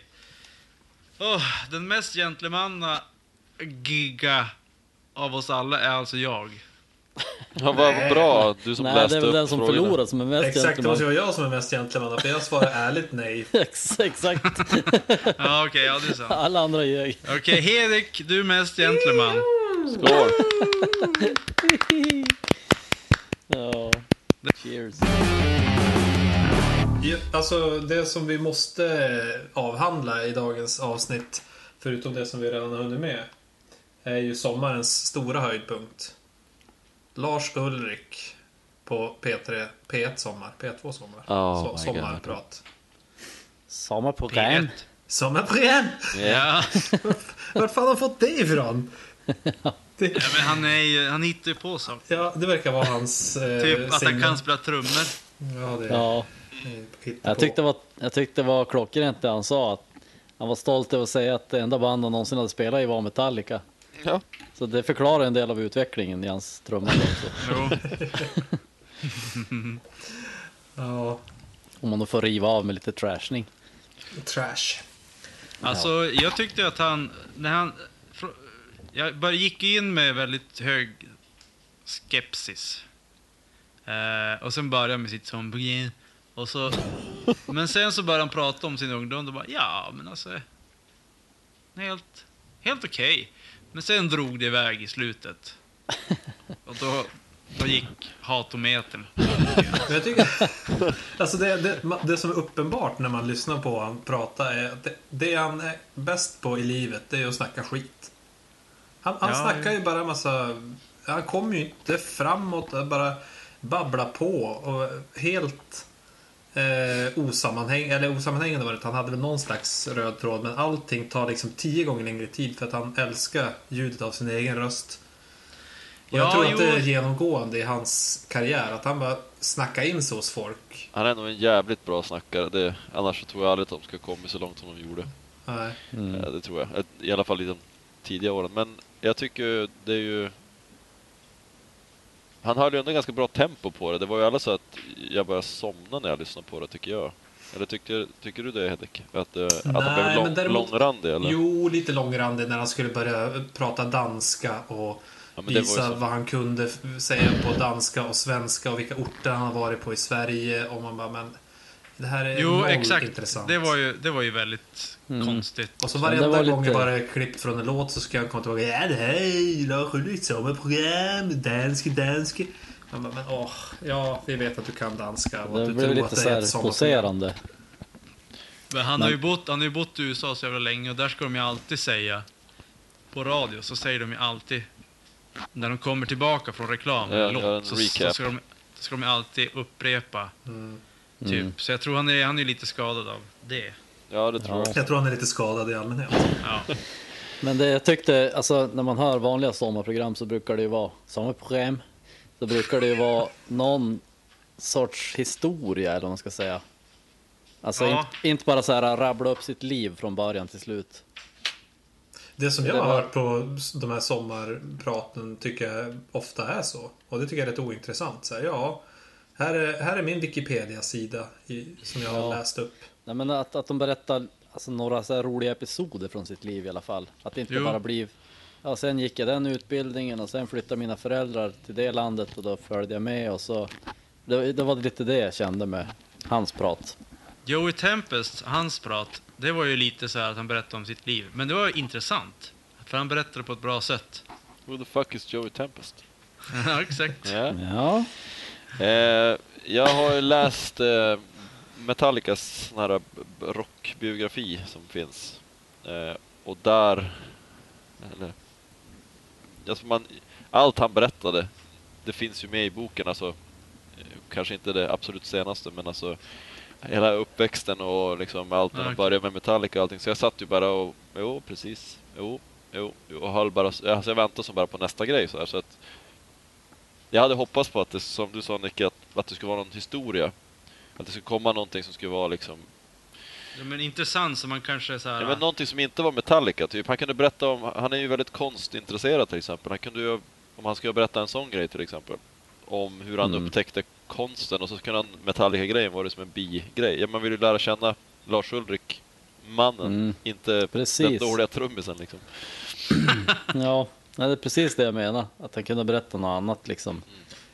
Speaker 1: Åh, den mest gentlemanna giga av oss alla är alltså jag.
Speaker 4: Ja, vad vad bra, du som
Speaker 2: Nej, det
Speaker 4: läste
Speaker 2: är väl
Speaker 4: upp
Speaker 2: den som
Speaker 4: frågorna.
Speaker 2: förlorar som är mest
Speaker 3: exakt. Det
Speaker 2: gentleman.
Speaker 3: måste ju vara jag som är mest gentleman, för jag svarar ärligt nej.
Speaker 2: Ex- Exakt.
Speaker 1: Ja, okej, ja det är sant.
Speaker 2: Alla andra ljög.
Speaker 1: Okej, Hedik, du är mest gentleman.
Speaker 4: Skål!
Speaker 2: Ja. Cheers.
Speaker 3: Ja, Alltså det som vi måste eh, avhandla i dagens avsnitt, förutom det som vi redan har hunnit med, är ju sommarens stora höjdpunkt. Lars Ulrik på P3, P1 Sommar, P2 Sommar.
Speaker 4: Oh my
Speaker 3: sommarprat.
Speaker 2: Sommarprogram.
Speaker 1: P1.
Speaker 3: Sommarprogram!
Speaker 1: Ja.
Speaker 3: Vart fan har han fått det ifrån? Det,
Speaker 1: Ja, men han, är ju, han hittar ju på saker.
Speaker 3: ja, det verkar vara hans... Eh,
Speaker 1: Typ att han
Speaker 3: signum.
Speaker 1: kan spela trummor.
Speaker 3: Ja, det är
Speaker 2: Ja.
Speaker 3: hittepå.
Speaker 2: Jag tyckte, det var, jag tyckte det var klockrent det han sa. Att han var stolt över att säga att det enda band han någonsin hade spelat i var Metallica.
Speaker 4: Ja.
Speaker 2: Så det förklarar en del av utvecklingen i hans trummande också.
Speaker 1: Jo.
Speaker 3: Ja,
Speaker 2: Om man då får riva av med lite trashning.
Speaker 3: trash.
Speaker 1: Alltså, jag tyckte att han... När han fr- jag bara gick in med väldigt hög skepsis. Eh, och sen började jag med sitt zombie. Och så, men sen så började han prata om sin ungdom. Då bara, ja, men alltså... Helt, helt okej. Men sen drog det iväg i slutet. Och då, Då gick hatometern.
Speaker 3: Men jag tycker, alltså det, det, det som är uppenbart när man lyssnar på honom prata är att det, det han är bäst på i livet, det är att snacka skit. Han, han
Speaker 1: Ja,
Speaker 3: snackar
Speaker 1: ja.
Speaker 3: ju bara massa... Han kommer ju inte framåt, han bara babblar på och helt eh, osammanhäng, eller osammanhängande var det inte, han hade väl någon slags röd tråd, men allting tar liksom tio gånger längre tid för att han älskar ljudet av sin egen röst. Och jag
Speaker 1: Ja,
Speaker 3: tror att
Speaker 1: jo.
Speaker 3: det är genomgående i hans karriär, att han bara snackar in sig hos folk.
Speaker 4: Han är nog en jävligt bra snackare. Det, annars tror jag aldrig att de skulle komma så långt som de gjorde.
Speaker 3: Nej.
Speaker 2: Mm.
Speaker 4: Eh, Det tror jag. I alla fall i de tidiga åren. Men jag tycker det är ju... Han höll ju ändå ganska bra tempo på det. Det var ju alla så att jag började somna när jag lyssnade på det tycker jag. Eller tycker, tycker du det Hedek? Att, eh, att han
Speaker 3: Nej,
Speaker 4: blev lång,
Speaker 3: men däremot-
Speaker 4: långrandig eller?
Speaker 3: Jo, lite långrandig när han skulle börja prata danska och
Speaker 4: ja, men det var ju
Speaker 3: visa
Speaker 4: så.
Speaker 3: vad han kunde f- säga på danska och svenska och vilka orter han har varit på i Sverige. Och man bara, men det här är
Speaker 1: Jo,
Speaker 3: noll
Speaker 1: exakt.
Speaker 3: intressant.
Speaker 1: Det var ju, det var ju väldigt
Speaker 2: Mm.
Speaker 1: konstigt.
Speaker 3: Och så
Speaker 2: Men det
Speaker 3: varenda
Speaker 2: var
Speaker 3: gång
Speaker 2: lite-
Speaker 3: jag bara klippt från en låt så ska jag komma tillbaka. Ja, hej, Lars Ulrik, sommarprogram, danske, danske. Man bara, men åh, ja, vi vet att du kan danska och att
Speaker 2: Det
Speaker 3: du
Speaker 2: blev
Speaker 3: tror att
Speaker 2: lite
Speaker 3: det är ett
Speaker 2: såhär
Speaker 3: sommarprogram.
Speaker 2: poserande.
Speaker 1: Men han, har ju bott, han har ju bott i USA så jävla länge och där ska de ju alltid säga, på radio, så säger de ju alltid, när de kommer tillbaka från reklam,
Speaker 4: Ja,
Speaker 1: eller låt,
Speaker 4: ja, en
Speaker 1: så,
Speaker 4: recap.
Speaker 1: så ska de, så ska de ju alltid upprepa.
Speaker 3: Mm.
Speaker 1: Typ. Så jag tror han är, han är lite skadad av det.
Speaker 4: Ja det tror
Speaker 2: Ja.
Speaker 4: jag.
Speaker 3: Jag tror han är lite skadad i allmänhet.
Speaker 1: Ja.
Speaker 2: Men det jag tyckte, alltså när man hör vanliga sommarprogram så brukar det ju vara sommarprogram. Så brukar det ju vara någon sorts historia eller vad man ska säga. Alltså
Speaker 1: Ja.
Speaker 2: inte, inte bara så här rabbla upp sitt liv från början till slut.
Speaker 3: Det som jag
Speaker 2: Det
Speaker 3: har
Speaker 2: var-
Speaker 3: hört på de här sommarpraten tycker jag ofta är så. Och det tycker jag är rätt ointressant. Så här, ja, här är, här är min Wikipedia-sida i, som jag har
Speaker 2: Ja.
Speaker 3: läst upp.
Speaker 2: Nej, men att, att de berättar alltså, några så här roliga episoder från sitt liv i alla fall. Att det inte
Speaker 1: Jo.
Speaker 2: bara blir, ja sen gick jag den utbildningen och sen flyttade mina föräldrar till det landet och då följde jag med och så. Det, det var lite det jag kände med hans prat.
Speaker 1: Joey Tempest, hans prat, det var ju lite så här att han berättade om sitt liv. Men det var ju intressant. För han berättade på ett bra sätt.
Speaker 4: Who the fuck is Joey Tempest?
Speaker 1: ja, exakt.
Speaker 4: Ja.
Speaker 2: Ja,
Speaker 4: Eh, jag har ju läst eh, Metallicas sån här b- rockbiografi som finns. Eh, och där... Eller, alltså man, allt han berättade, det finns ju med i boken. Alltså, eh, kanske inte det absolut senaste, men alltså hela uppväxten och liksom allt när
Speaker 1: Ja,
Speaker 4: de
Speaker 1: okej.
Speaker 4: började med Metallica och allting. Så jag satt ju bara och, jo precis, jo, jo, jo och höll bara, alltså jag väntade som bara på nästa grej så här, så att jag hade hoppats på att det, som du sa Nicke, att, att det skulle vara någon historia. Att det skulle komma någonting som skulle vara liksom...
Speaker 1: Ja, men intressant så man kanske så här...
Speaker 4: Ja, men någonting som inte var Metallica, typ. Han kunde berätta om... Han är ju väldigt konstintresserad till exempel. Han kunde ju... Om han skulle berätta en sån grej till exempel. Om hur han
Speaker 2: Mm.
Speaker 4: upptäckte konsten och så kunde han Metallica-grejen vara det som en bigrej. Ja, man vill ju lära känna Lars Ulrik, mannen.
Speaker 2: Mm.
Speaker 4: Inte den
Speaker 2: Precis.
Speaker 4: dåliga trummisen liksom.
Speaker 2: ja. Nej, det är precis det jag menar. Att han kunde berätta något annat liksom.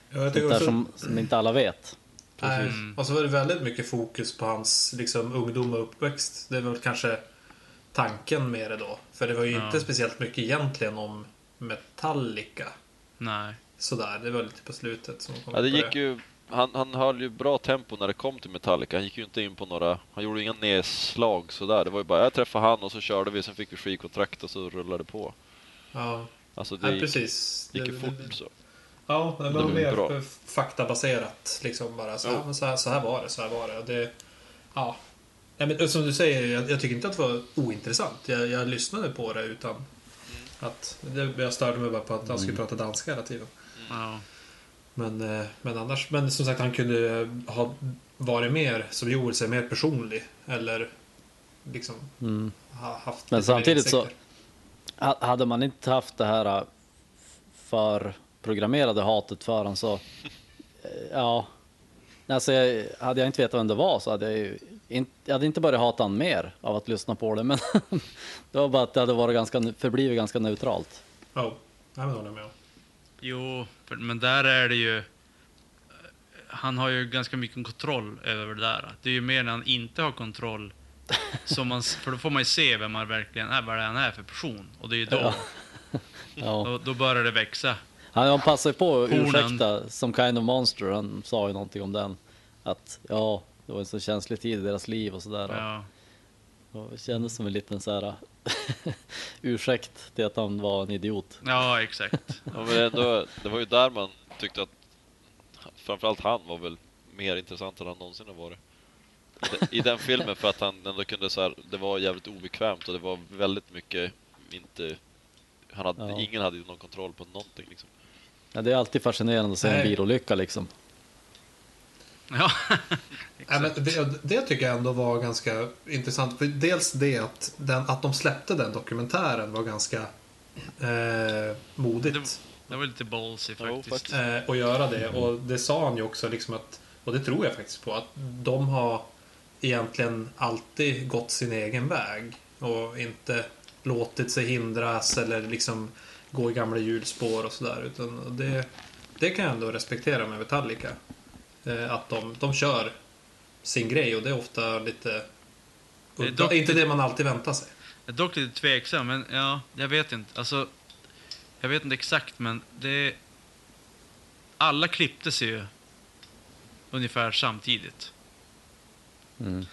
Speaker 3: Ja, jag
Speaker 2: Sånt
Speaker 3: tycker
Speaker 2: där
Speaker 3: också,
Speaker 2: som, som inte alla vet.
Speaker 3: nej.
Speaker 1: Mm.
Speaker 3: Och så var det väldigt mycket fokus på hans liksom, ungdom och uppväxt. Det var väl kanske tanken med det då. För det var ju
Speaker 1: Ja.
Speaker 3: inte speciellt mycket egentligen om Metallica.
Speaker 1: Nej.
Speaker 3: Sådär, det var lite på slutet som kom
Speaker 4: Ja, det
Speaker 3: på
Speaker 4: gick ju, han, han höll ju bra tempo när det kom till Metallica. Han gick ju inte in på några, han gjorde inga nedslag sådär. Det var ju bara, jag träffade han och så körde vi, sen fick vi skivkontrakt och så rullade det på.
Speaker 3: Ja,
Speaker 4: Alltså det
Speaker 3: ja
Speaker 4: gick,
Speaker 3: precis.
Speaker 4: gick
Speaker 3: Det-
Speaker 4: ju
Speaker 3: det-
Speaker 4: fort så.
Speaker 3: Ja, det var
Speaker 4: Det blir
Speaker 3: mer
Speaker 4: bra.
Speaker 3: faktabaserat. Liksom bara så här,
Speaker 4: Ja.
Speaker 3: men så, här, så här var det, så här var det. Och det ja. Nej, men som du säger, jag, jag tycker inte att det var ointressant. Jag, jag lyssnade på det
Speaker 1: Mm.
Speaker 3: utan att... Det, jag störde mig bara på att han skulle
Speaker 4: Mm.
Speaker 3: prata danska hela tiden.
Speaker 1: Ja.
Speaker 3: Men, eh, men annars, men som sagt han kunde ha varit mer, som Joel säger, mer personlig. Eller liksom
Speaker 2: Mm.
Speaker 3: ha haft...
Speaker 2: Men
Speaker 3: lite mer
Speaker 2: samtidigt så-
Speaker 3: insikter.
Speaker 2: Ha- Hade man inte haft det här äh, förprogrammerade hatet för honom så, eh, ja. Alltså, jag, hade jag inte vetat vem det var så hade jag ju inte, jag hade inte börjat hata han mer av att lyssna på det. Men det var bara att det hade varit ganska, förblivit ganska neutralt.
Speaker 3: Ja, nej, men det håller jag med om.
Speaker 1: Jo, för, men där är det ju... Han har ju ganska mycket kontroll över det där. Det är ju mer när han inte har kontroll. Som man, för då får man ju se vem han verkligen är, vad han är för person. Och det är ju då,
Speaker 2: Ja.
Speaker 1: då, då börjar det växa.
Speaker 2: Han, han passade på att
Speaker 1: Hornen.
Speaker 2: ursäkta som kind of monster. Han sa ju någonting om den. Att ja, det var en så känslig tid i deras liv och sådär.
Speaker 1: Ja.
Speaker 2: Och det kändes som en liten så här ursäkt till att han var en idiot.
Speaker 1: ja, exakt.
Speaker 4: Ja, men ändå, det var ju där man tyckte att framförallt han var väl mer intressant än han någonsin har varit. I den filmen för att han ändå kunde så här, det var jävligt obekvämt och det var väldigt mycket inte han hade,
Speaker 2: Ja.
Speaker 4: Ingen hade ju någon kontroll på någonting liksom.
Speaker 2: Ja, det är alltid fascinerande att se en
Speaker 3: Nej.
Speaker 2: bilolycka liksom.
Speaker 1: Ja,
Speaker 3: Ja, men
Speaker 1: exakt.
Speaker 3: det, det tycker jag ändå var ganska intressant. För dels det att, den, att de släppte den dokumentären var ganska eh, modigt
Speaker 1: Det var lite ballsy
Speaker 4: Jo,
Speaker 1: faktiskt.
Speaker 4: faktiskt.
Speaker 3: eh, att göra det.
Speaker 1: Mm.
Speaker 3: Och det sa han ju också, liksom att, och det tror jag faktiskt på, att
Speaker 1: Mm.
Speaker 3: de har egentligen alltid gått sin egen väg. Och inte låtit sig hindras eller liksom gå i gamla hjulspår och sådär. Utan det, det kan jag ändå respektera med Metallica. Eh, att de, de kör sin grej och det är ofta lite...
Speaker 1: Det är
Speaker 3: udda.
Speaker 1: dock-
Speaker 3: inte det man alltid väntar sig.
Speaker 1: Jag är dock lite tveksam, men ja, jag vet inte. Alltså, jag vet inte exakt, men det... Alla klipptes ju ungefär samtidigt.
Speaker 2: Mm.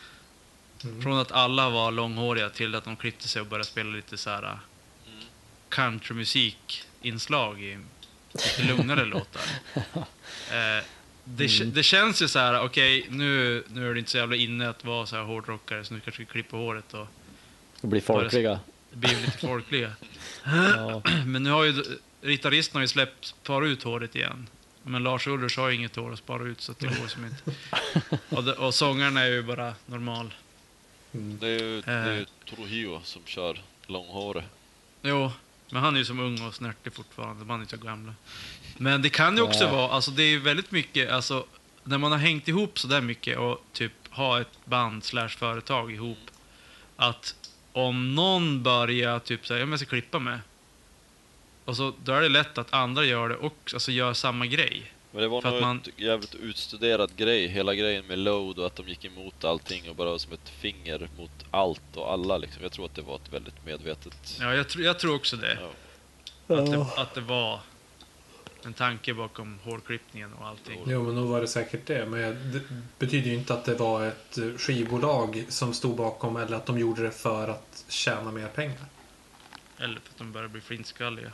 Speaker 1: Från att alla var långhåriga till att de klippte sig och började spela lite så här äh, countrymusikinslag i lite lugnare låtar. Eh, det, k- det känns ju så här, okej, nu, nu är det inte så jävla inne att vara så här hårdrockare, så nu kanske vi klipper håret och
Speaker 2: Och bli folkliga.
Speaker 1: blir lite folkliga.
Speaker 2: Ja.
Speaker 1: Men nu har ju gitarristen har ju släppt spara ut håret igen. Men Lars Ulrich har ju inget hår att spara ut så att det går som inte. Och, det- och sångaren är ju bara normal. Mm.
Speaker 4: Det är ju, det är
Speaker 1: Eh.
Speaker 4: ju Torohio som kör långhåre.
Speaker 1: Jo, men han är ju som ung och snärtig fortfarande. Man är inte så gamla. Men det kan ju också
Speaker 2: Ja.
Speaker 1: vara, alltså det är ju väldigt mycket, alltså när man har hängt ihop så där mycket och typ ha ett band slash företag ihop. Att om någon börjar typ säga, ja men jag ska klippa med. Och så, då är det lätt att andra gör det också, alltså gör samma grej.
Speaker 4: Men det var
Speaker 1: För att
Speaker 4: nog
Speaker 1: man-
Speaker 4: ett jävligt utstuderad grej, hela grejen med load och att de gick emot allting och bara var som ett finger mot allt och alla liksom. Jag tror att det var ett väldigt medvetet...
Speaker 1: Ja, jag, tr- jag tror också det.
Speaker 4: Ja.
Speaker 1: Att det, att det var en tanke bakom hårklippningen och allting.
Speaker 3: Jo, men nog var det säkert det. Men det betyder ju inte att det var ett eh, skivbolag som stod bakom eller att de gjorde det för att tjäna mer pengar.
Speaker 1: Eller för att de börjar bli flintskalliga.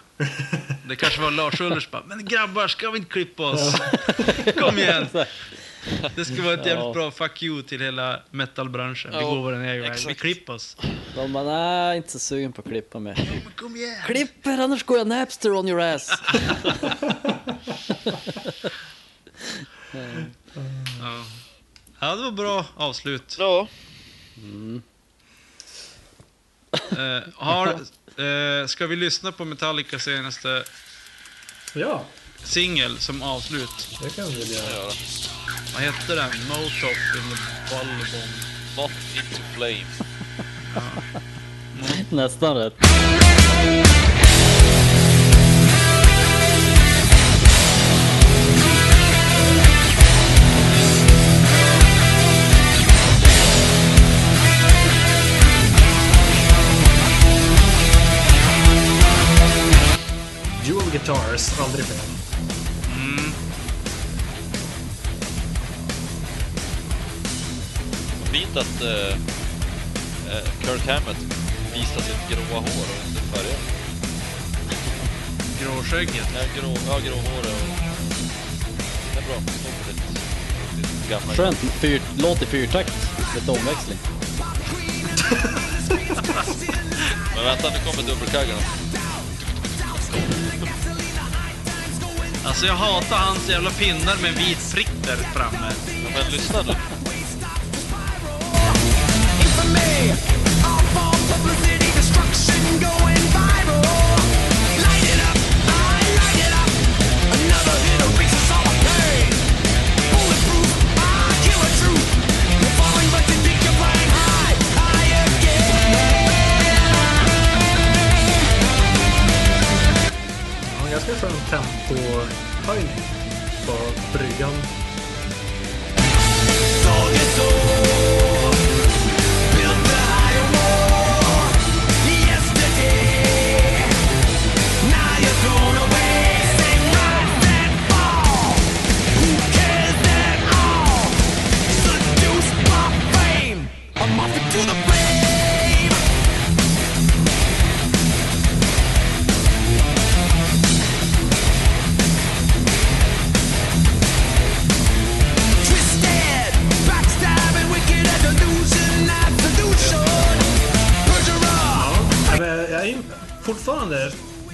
Speaker 1: Det kanske var Lars Ullers bara, men grabbar ska vi inte klippa oss? Kom igen! Det skulle vara ett jävligt
Speaker 2: Ja.
Speaker 1: bra fuck you till hela metalbranschen. Vi
Speaker 4: Ja,
Speaker 1: går vår egen väg, vi
Speaker 4: exakt.
Speaker 1: klipper oss.
Speaker 2: De bara, nej, inte så sugen på att klippa mig.
Speaker 1: Men kom igen!
Speaker 2: Klipper, annars går jag Napster on your ass.
Speaker 1: Ja. ja, det var bra avslut.
Speaker 4: Ja,
Speaker 1: Eh, har, eh, ska vi lyssna på Metallicas senaste
Speaker 3: Ja,
Speaker 1: singel som avslut?
Speaker 3: det kan vi väl göra.
Speaker 4: göra.
Speaker 1: Vad hette den? Motop in the Ballabong.
Speaker 4: Not into flame.
Speaker 2: Nästan rätt.
Speaker 3: Dual Guitars, aldrig fel.
Speaker 4: Fint att eh, eh, Kirk Hammett visar sitt gråa hår och inte färger.
Speaker 1: Gråskägget.
Speaker 4: Ja, grå, ja, grå hår och... Det är bra. Står för ditt, ditt gamla...
Speaker 2: Skönt. Fyr, låt i fyrtakt. Lite omväxling.
Speaker 4: Men vänta, nu kommer dubbelkaggarna.
Speaker 1: Alltså jag hatar hans jävla pinnar med en vit prick där framme.
Speaker 4: Ja, men lyssna nu.
Speaker 5: Infamy, awful publicity, destruction going viral. Light it up, I light it up. Another hit erases all our pain. Bulletproof, I kill a truth. You're falling, but you think you're flying high, high again.
Speaker 3: Ja, ganska skön tempohöjning på bryggan.
Speaker 5: Yesterday, now you're thrown away. Same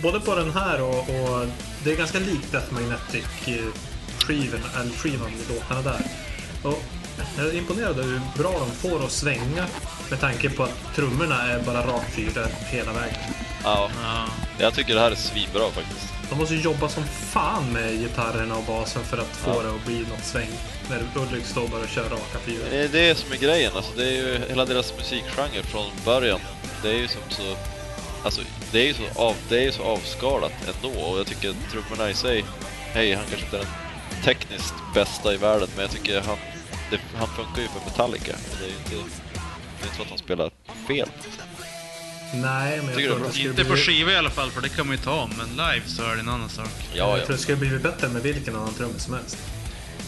Speaker 3: både på den här och, och det är ganska likt Death Magnetic eh, skivorna, eller skivan i låtarna där. Och jag är imponerad över hur bra de får att svänga med tanke på att trummorna är bara rakfyror hela vägen.
Speaker 4: Ja,
Speaker 1: Ja.
Speaker 4: jag tycker det här är svinbra faktiskt.
Speaker 3: De måste ju jobba som fan med gitarrerna och basen för att få det att bli något sväng. När Ulrik står bara och kör raka fyror.
Speaker 4: Det är det som är grejen, alltså det är ju hela deras musikgenre från början. Det är ju som så... Alltså, det är ju så, av, det är ju så avskalat ändå och jag tycker trummorna i sig... Hej, han kanske inte är den tekniskt bästa i världen men jag tycker han... Det, han funkar ju för Metallica. och Det är ju inte... Det är inte så att han spelar fel.
Speaker 3: Nej, men jag
Speaker 4: Tycker
Speaker 3: tror
Speaker 4: du
Speaker 3: att det skulle
Speaker 1: Inte på
Speaker 3: bli...
Speaker 1: skiva i alla fall, för det kan man ju ta om, men live så är det en annan sak.
Speaker 4: Ja,
Speaker 3: Jag tror
Speaker 4: ja.
Speaker 3: det skulle blivit bättre med vilken annan trummis som helst.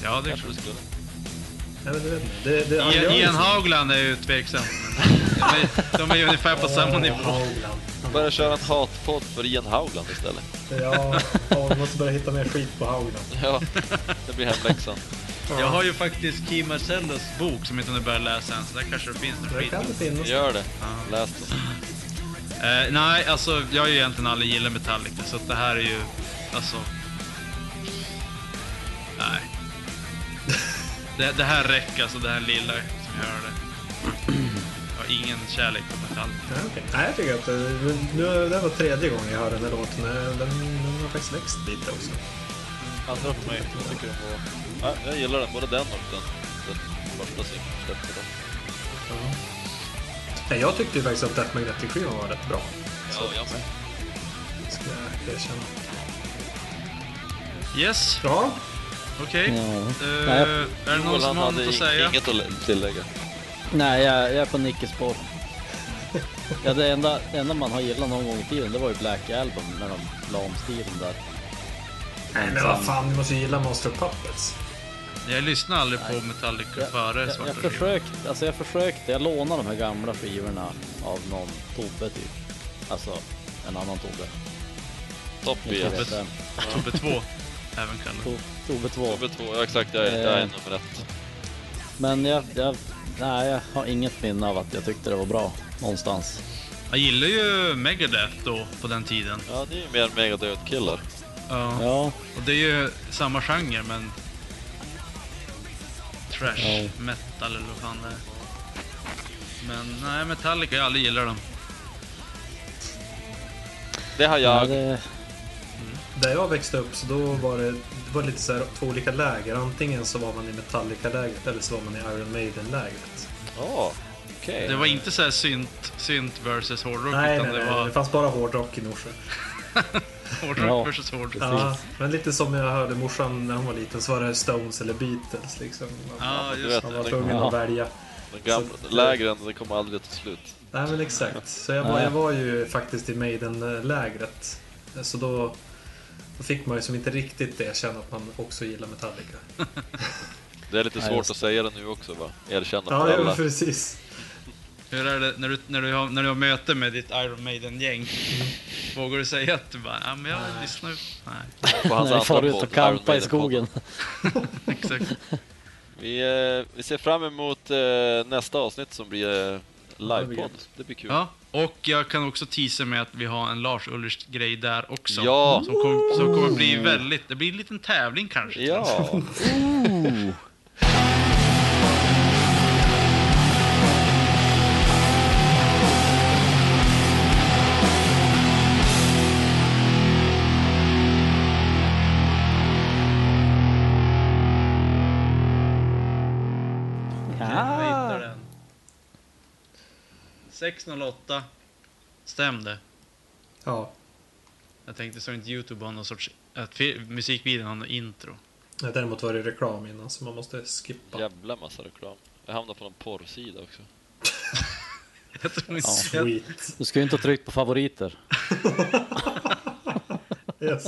Speaker 1: Ja, det är
Speaker 4: Kanske det
Speaker 1: klart.
Speaker 4: skulle.
Speaker 3: Jag vet inte. Det, det, han gör
Speaker 1: Ian,
Speaker 3: ju
Speaker 1: Ian
Speaker 3: så.
Speaker 1: Haugland är ju tveksam. De är, de är ju ungefär på samma nivå.
Speaker 4: Börja köra en hatpodd för Ian Haugland istället.
Speaker 3: Ja, ja, vi måste börja hitta mer skit på Haugland.
Speaker 4: Ja, det blir hemläxan.
Speaker 1: Jag har ju faktiskt Kim Marcellos bok som inte hunnit börja läsa än, så där kanske det finns något
Speaker 3: Det
Speaker 1: skit.
Speaker 3: kan det finnas.
Speaker 4: Gör det. Läs den.
Speaker 1: Eh, nej, alltså jag har ju egentligen aldrig gillat Metallica, så att det här är ju... Alltså... Nej. Det, det här räcker, alltså det här lilla som jag hörde. Jag har ingen kärlek för Metallica.
Speaker 3: Ja, okej. Nej, jag tycker att eh, men nu, det här var tredje gången jag hör den här låten. Eh, Den, den har faktiskt växt lite också.
Speaker 4: Andra Alltså, för mig. Jag tycker de var... Ja, jag gillar den, både den och den, den första singeln. släppte då.
Speaker 3: Nej, Eh, jag tyckte ju faktiskt att Death Magnetic-skivan var rätt bra.
Speaker 4: Ja, jag med.
Speaker 3: Ska jag erkänna.
Speaker 1: Yes,
Speaker 3: Bra.
Speaker 1: okej.
Speaker 2: Ja.
Speaker 1: Eh,
Speaker 2: Nej.
Speaker 1: är det någon
Speaker 4: Joel,
Speaker 1: som
Speaker 4: han
Speaker 1: har
Speaker 4: hade
Speaker 1: något att
Speaker 4: ing-
Speaker 1: säga?
Speaker 4: inget att lä- tillägga.
Speaker 2: Nej, jag, jag är på Nickes spår. Ja, det enda, det enda man har gillat någon gång i tiden, det var ju Black Album när de la om stilen där.
Speaker 3: Nej, men vad fan, du måste ju gilla Master of Puppets.
Speaker 1: Jag lyssnar aldrig på Metallica
Speaker 2: Jag,
Speaker 1: före
Speaker 2: jag,
Speaker 1: Svarta
Speaker 2: jag,
Speaker 1: skivan.
Speaker 2: försökte, alltså jag försökte, jag lånade de här gamla skivorna av någon Tobbe typ. Alltså, en annan Tobbe.
Speaker 4: Toppy,
Speaker 2: Inte
Speaker 4: yes.
Speaker 2: vet vem.
Speaker 1: Tobbe 2, även kallat.
Speaker 2: To- Tobbe 2.
Speaker 4: Nummer två, ja exakt, jag är, jag är nummer ett.
Speaker 2: Men jag, jag, nej, jag har inget minne av att jag tyckte det var bra någonstans.
Speaker 1: Jag gillar ju Megadeth då, på den tiden.
Speaker 4: Ja, det är ju mer megadöd-killar.
Speaker 1: Ja.
Speaker 2: Ja,
Speaker 1: Och det är ju samma genre, men... Trash
Speaker 2: Ja.
Speaker 1: metal eller vad fan det är. Men nej, Metallica, jag har aldrig gillat dem.
Speaker 4: Det har
Speaker 2: ja
Speaker 4: jag.
Speaker 2: det,
Speaker 3: Där jag växte upp så då var det, det var lite så här två olika läger. Antingen så var man i Metallica-lägret eller så var man i Iron Maiden-lägret.
Speaker 4: Ja, okej.
Speaker 1: Det var inte så här synt, synt versus hårdrock,
Speaker 3: Nej,
Speaker 1: utan
Speaker 3: nej,
Speaker 1: det
Speaker 3: nej. Det
Speaker 1: var
Speaker 3: fanns bara hårdrock i Norsjö.
Speaker 1: hårdrock
Speaker 2: Ja.
Speaker 1: versus hårdrock.
Speaker 2: Ja.
Speaker 3: Ja, men lite som jag hörde morsan när hon var liten så var det Stones eller Beatles liksom. Man,
Speaker 1: Ja,
Speaker 4: Du
Speaker 1: just
Speaker 4: vet,
Speaker 1: det.
Speaker 3: man var
Speaker 4: de,
Speaker 3: tvungen
Speaker 2: Ja.
Speaker 3: att välja.
Speaker 4: de gamla lägren, det kommer aldrig till slut.
Speaker 3: Nej men exakt. Så jag, var- jag var ju faktiskt i Maiden-lägret. Så då, då fick man ju som inte riktigt erkänna att man också gillar Metallica.
Speaker 4: Det är lite
Speaker 2: Ja,
Speaker 4: svårt
Speaker 2: just
Speaker 4: att säga det nu också va? Erkänna för
Speaker 3: Ja, ja
Speaker 4: alla.
Speaker 3: precis.
Speaker 1: Hur är det när du, när, du har, när du har möte med ditt Iron Maiden-gäng? Vågar du säga att du bara, ja men jag lyssnar ju... Nej,
Speaker 4: alltså På hans
Speaker 2: när vi far
Speaker 4: andra
Speaker 2: ut
Speaker 4: podd,
Speaker 2: och
Speaker 4: Iron
Speaker 2: kampa i
Speaker 4: Maiden-podden.
Speaker 2: skogen.
Speaker 1: exakt.
Speaker 4: Vi, eh, vi ser fram emot eh, nästa avsnitt som blir eh, livepodd. Det blir kul.
Speaker 1: Ja, och jag kan också teasa med att vi har en Lars Ulrich grej där också.
Speaker 4: Ja.
Speaker 1: Som, kom, som kommer bli väldigt... Det blir en liten tävling kanske.
Speaker 4: Ja. Ah.
Speaker 1: Jag hittar den. 608. Stämde.
Speaker 3: Ja,
Speaker 1: Jag tänkte så inte Youtube har någon sorts... Att fi- musikvideon har något intro.
Speaker 3: däremot var det reklam innan så man måste skippa.
Speaker 4: Jävla massa reklam. Jag hamnade på någon porrsida också.
Speaker 1: Jag tror ni
Speaker 2: Ja.
Speaker 1: ser-
Speaker 3: Sweet.
Speaker 2: Du ska ju inte ha tryckt på favoriter.
Speaker 3: Yes.